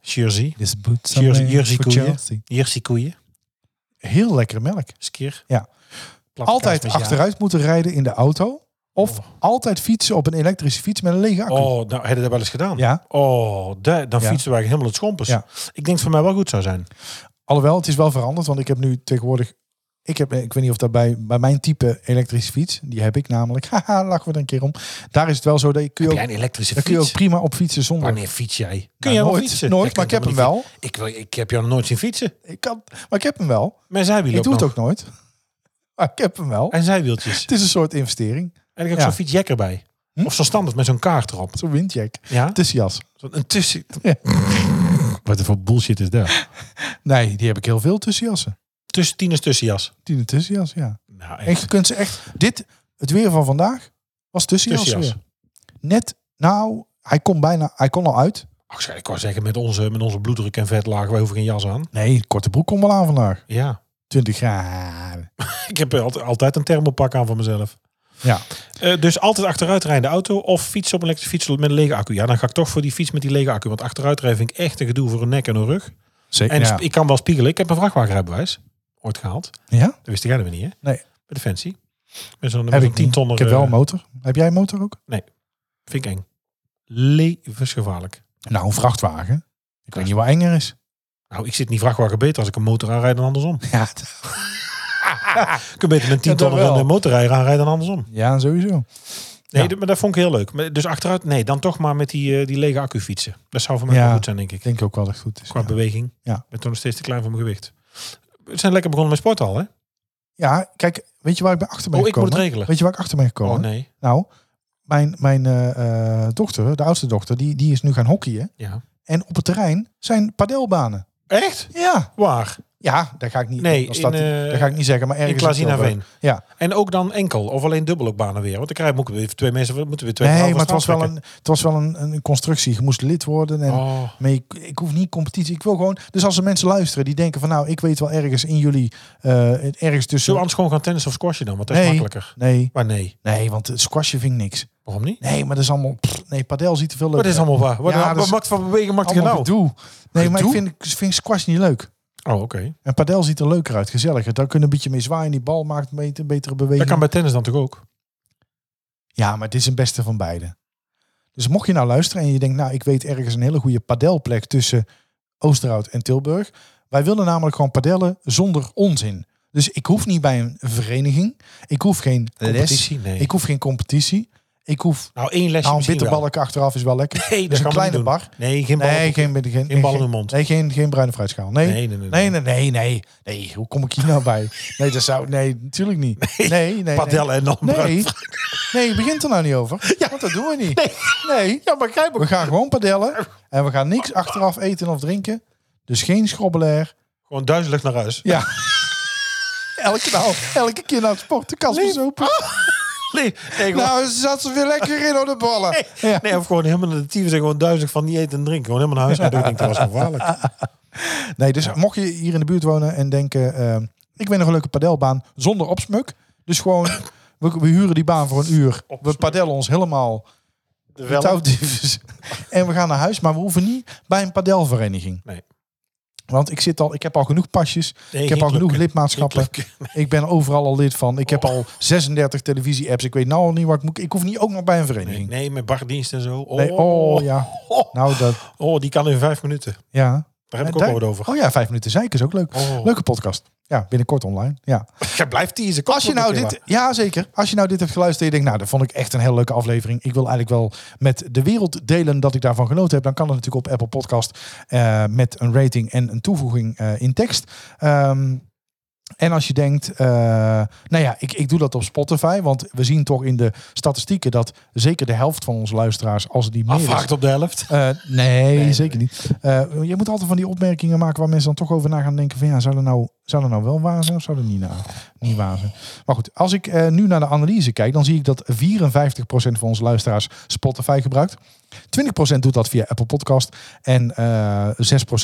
Jersey. This boots are Jersey, made Jersey for koeien. Chelsea. Jersey koeien. Heel lekkere melk. Skier. Ja. Platte Altijd kaas met ja. achteruit moeten rijden in de auto. Of altijd fietsen op een elektrische fiets met een lege accu. Oh, nou, heb je dat wel eens gedaan? Ja. Oh, da- dan Ja. fietsen wij helemaal het schompers. Ja. Ik denk dat het voor mij wel goed zou zijn. Alhoewel, het is wel veranderd, want ik heb nu tegenwoordig... Ik, heb, ik weet niet of dat bij, bij mijn type elektrische fiets, die heb ik namelijk. Haha, lachen we er een keer om. Daar is het wel zo dat je, kun je, Heb jij ook, een elektrische daar kun je ook fiets? prima op fietsen zonder... Wanneer fiets jij? Kun Nou, jij wel nooit, fietsen? nooit, Jij maar ik kunt heb hem helemaal wel. niet fietsen. Ik, wil- ik heb jou nog nooit zien fietsen. Ik kan, maar ik heb hem wel. Mijn zijwiel Ik doe het nog. ook nooit. Maar ik heb hem wel. En zijwieltjes. Het is een soort investering. En ik heb Ja. zo'n fietsjack erbij. Hm? Of zo'n standaard met zo'n kaart erop. Zo'n windjack. Ja? Tussenjas. Zo'n- Een tussen... Ja. Wat voor bullshit is dat? Nee, die heb ik heel veel tussenjassen. Tussen tieners tussenjas. Tien tussenjas, ja. Nou, En je kunt ze echt... Dit, het weer van vandaag, was tussenjas, Tussenjas. weer. Net, nou, hij kon bijna... Hij kon al uit. Ach, zou ik wel zeggen, met onze, met onze bloeddruk en vetlaag, wij hoeven geen jas aan. Nee, korte broek kon wel aan vandaag. Ja, 20 graden. ik heb al- altijd een thermopak aan van mezelf. Ja. Eh, dus altijd achteruitrijdende auto of fiets op een elektrische fiets met een lege accu. Ja, dan ga ik toch voor die fiets met die lege accu. Want achteruitrijden vind ik echt een gedoe voor een nek en een rug. Zeker, En ja. sp- ik kan wel spiegelen. Ik heb een vrachtwagenrijbewijs ooit gehaald. ja? Dat wist jij dan weer niet, hè? Nee. Bij Defensie. Met zo'n met Heb zo'n ik 10 niet. tonner. Ik heb wel eh, een motor. Heb jij een motor ook? Vind ik eng. Levensgevaarlijk. Nou, een vrachtwagen. Ik weet is- niet wat enger is. Nou, ik zit in die vrachtwagen beter als ik een motor aanrijd dan andersom. Ja, Ik kan beter een 10 Ja, dat tonner en wel. een motorrijder aanrijden dan andersom. ja sowieso. Nee, Ja. d- maar dat vond ik heel leuk. Maar Dus achteruit, nee, dan toch maar met die, eh, die lege accu fietsen. Dat zou voor mij Ja. wel goed zijn, denk ik. Ik denk ook wel dat het goed is. Qua ja. beweging. Ja. Ik ben toen nog steeds te klein voor mijn gewicht. We zijn lekker begonnen met sport al, hè? Ja, kijk, weet je waar ik bij achter ben Oh, ik moet gekomen? het regelen. Weet je waar ik achter ben gekomen? Oh nee. Nou, mijn, mijn eh, eh, dochter, de oudste dochter, die, die is nu gaan hockeyen. Ja. En op het terrein zijn padelbanen. Echt? Ja, Waar? ja, daar ga ik niet. Nee, dat staat- in, eh, dat ga ik niet zeggen, maar In ergens Tilburg. Klazinaveen. Ja. En ook dan enkel of alleen dubbel ook banen weer. Want dan krijg, moet ik weer twee mensen, moeten we weer twee Nee, verhalen maar het was wel vastpakken. een, het was wel een, een constructie. Je moest lid worden en Oh, Maar ik, ik hoef niet competitie. Ik wil gewoon. Dus als er mensen luisteren die denken van nou, ik weet wel ergens in jullie eh, ergens zullen we tussen. anders gewoon gaan tennis of squashen dan? Want dat is Nee. makkelijker. Nee, Maar nee, nee, want het squashje vind ik niks. waarom niet? Nee, maar dat is allemaal. pff, nee, padel ziet er veel Wat leuker. is allemaal waar? Wat, Ja, wat, dat is- maakt van bewegen maakt allemaal genau? gedoe. Nee, maar ik Gedoe? vind, ik vind squash niet leuk. Oh, oké. En padel ziet er leuker uit, gezelliger. Daar kunnen een beetje mee zwaaien. Die bal maakt een betere, betere beweging. Dat kan bij tennis dan toch ook? Ja, maar dit is het beste van beide. Dus mocht je nou luisteren en je denkt, nou, ik weet ergens een hele goede padelplek tussen Oosterhout en Tilburg. Wij willen namelijk gewoon padellen zonder onzin. Dus ik hoef niet bij een vereniging. Ik hoef geen les. Competitie? Nee. Ik hoef geen competitie. Ik hoef. nou, één lesje Nou, een misschien wel. bitterbalk achteraf is wel lekker. Dus Nee, dat een gaan we niet kleine doen. bar. Nee, geen bal. Nee, geen, geen, geen, geen bal in geen- de mond. Nee, geen, geen bruine fruitschaal. Nee. Nee, nee, nee, Nee, nee. nee, nee, nee, nee. Hoe kom ik hier nou bij? Nee, dat zou. Nee, natuurlijk niet. Nee, nee. nee. Padellen en dan Nee, nee, je begint er nou niet over. Ja, want dat doen we niet. Nee, ja, maar begrijp We gaan gewoon padellen en we gaan niks achteraf eten of drinken. Dus geen schrobbelair. Gewoon duizelig naar huis. Ja. Elke, nou, elke keer naar het sport, de kast was open. Nee, nee, gewoon- Nou, ze zat ze weer lekker in op de ballen. Ja. nee, of gewoon helemaal naar de tyfus en gewoon duizelig van niet eten en drinken. Gewoon helemaal naar huis. uit. Ik denk, dat was gevaarlijk. Nee, dus mocht je hier in de buurt wonen en denken... eh, ik weet nog een leuke padelbaan zonder opsmuk. Dus gewoon, we, we huren die baan voor een uur. We padellen ons helemaal de touwdiefjes. En we gaan naar huis, maar we hoeven niet bij een padelvereniging. Nee. Want ik, zit al, ik heb al genoeg pasjes. Nee, ik heb geen al genoeg clubje. lidmaatschappen. Geen Ik ben overal al lid van. Ik Oh. heb al 36 televisie-apps. Ik weet nou al niet wat ik moet. Ik hoef niet ook nog bij een Nee, vereniging. nee, met bardienst en zo. Oh, Nee, oh ja. Nou, dat. Oh, die kan in vijf minuten. Ja. Daar heb ik En ook daar- wat over. Oh ja, vijf minuten zeiken is ook leuk. Oh. Leuke podcast. Ja, binnenkort online. Ja. Jij blijft Oh. teasen. Kom Als je op, nou Michaela. dit, ja zeker. Als je nou dit hebt geluisterd en je denkt, nou, dat vond ik echt een hele leuke aflevering. Ik wil eigenlijk wel met de wereld delen dat ik daarvan genoten heb. Dan kan het natuurlijk op Apple Podcast eh, met een rating en een toevoeging eh, in tekst. Ehm, en als je denkt, eh, nou ja, ik, ik doe dat op Spotify, want we zien toch in de statistieken dat zeker de helft van onze luisteraars, als die meer is, Afhaakt op de helft. eh, nee, zeker niet. Eh, je moet altijd van die opmerkingen maken waar mensen dan toch over na gaan denken van ja, zou dat nou, zou dat nou wel waar zijn of zou dat niet, na, niet waar zijn? Maar goed, als ik eh, nu naar de analyse kijk, dan zie ik dat 54% van onze luisteraars Spotify gebruikt. 20% doet dat via Apple Podcast en eh 6%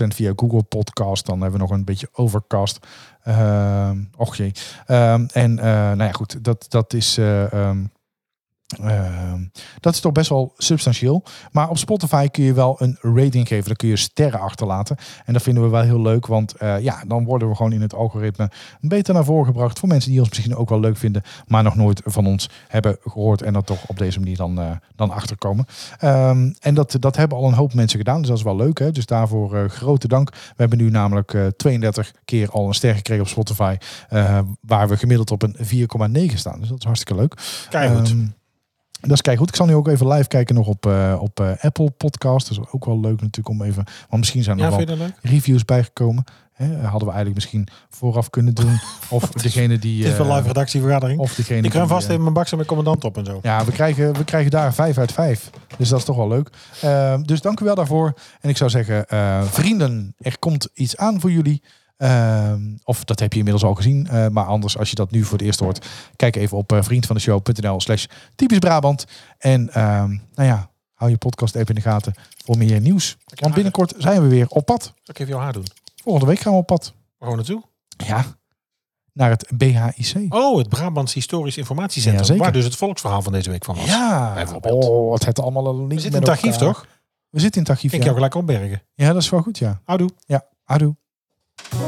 via Google Podcast. Dan hebben we nog een beetje Overcast. Ehm och jee. Ehm, en eh, nou ja, goed, dat, dat is... eh, ehm, ehm, dat is toch best wel substantieel. Maar op Spotify kun je wel een rating geven. Dan kun je sterren achterlaten. En dat vinden we wel heel leuk. Want eh, ja, dan worden we gewoon in het algoritme beter naar voren gebracht. Voor mensen die ons misschien ook wel leuk vinden. Maar nog nooit van ons hebben gehoord. En dat toch op deze manier dan, eh, dan achterkomen. Ehm, en dat, dat hebben al een hoop mensen gedaan. Dus dat is wel leuk. Hè? Dus daarvoor eh, grote dank. We hebben nu namelijk eh, 32 keer al een ster gekregen op Spotify. eh, waar we gemiddeld op een 4,9 staan. Dus dat is hartstikke leuk. Kijk goed. Ehm, Dat is kijk goed. Ik zal nu ook even live kijken nog op, eh, op eh, Apple Podcast. Dat is ook wel leuk natuurlijk om even... Want misschien zijn er Ja, nog vind wel je dat leuk? reviews bijgekomen. Hè? Hadden we eigenlijk misschien vooraf kunnen doen. Of degene die... Het is wel eh, live redactievergadering. Of degene Ik ruim die, vast eh, even mijn bak met commandant op en zo. Ja, we krijgen, we krijgen daar een 5 uit 5. Dus dat is toch wel leuk. Eh, dus dank u wel daarvoor. En ik zou zeggen, eh, vrienden, er komt iets aan voor jullie. Eh, of dat heb je inmiddels al gezien. eh, maar anders, als je dat nu voor het eerst hoort, kijk even op eh, vriendvandeshow.nl slash typisch Brabant. En ehm, nou ja, hou je podcast app in de gaten voor meer nieuws. Want binnenkort zijn we weer op pad. Zal ik even jouw haar doen? Volgende week gaan we op pad. Waar gaan we naartoe? Ja, naar het BHIC. Oh, het Brabants Historisch Informatiecentrum. Ja, zeker. waar dus het volksverhaal van deze week van was. Ja, Bijvoorbeeld. oh, het heeft allemaal een link We met zitten in het archief, elkaar. toch? We zitten in het archief, Ik eh, ja. jou gelijk opbergen. Ja, dat is wel goed, ja. Houdoe. Ja, adoe.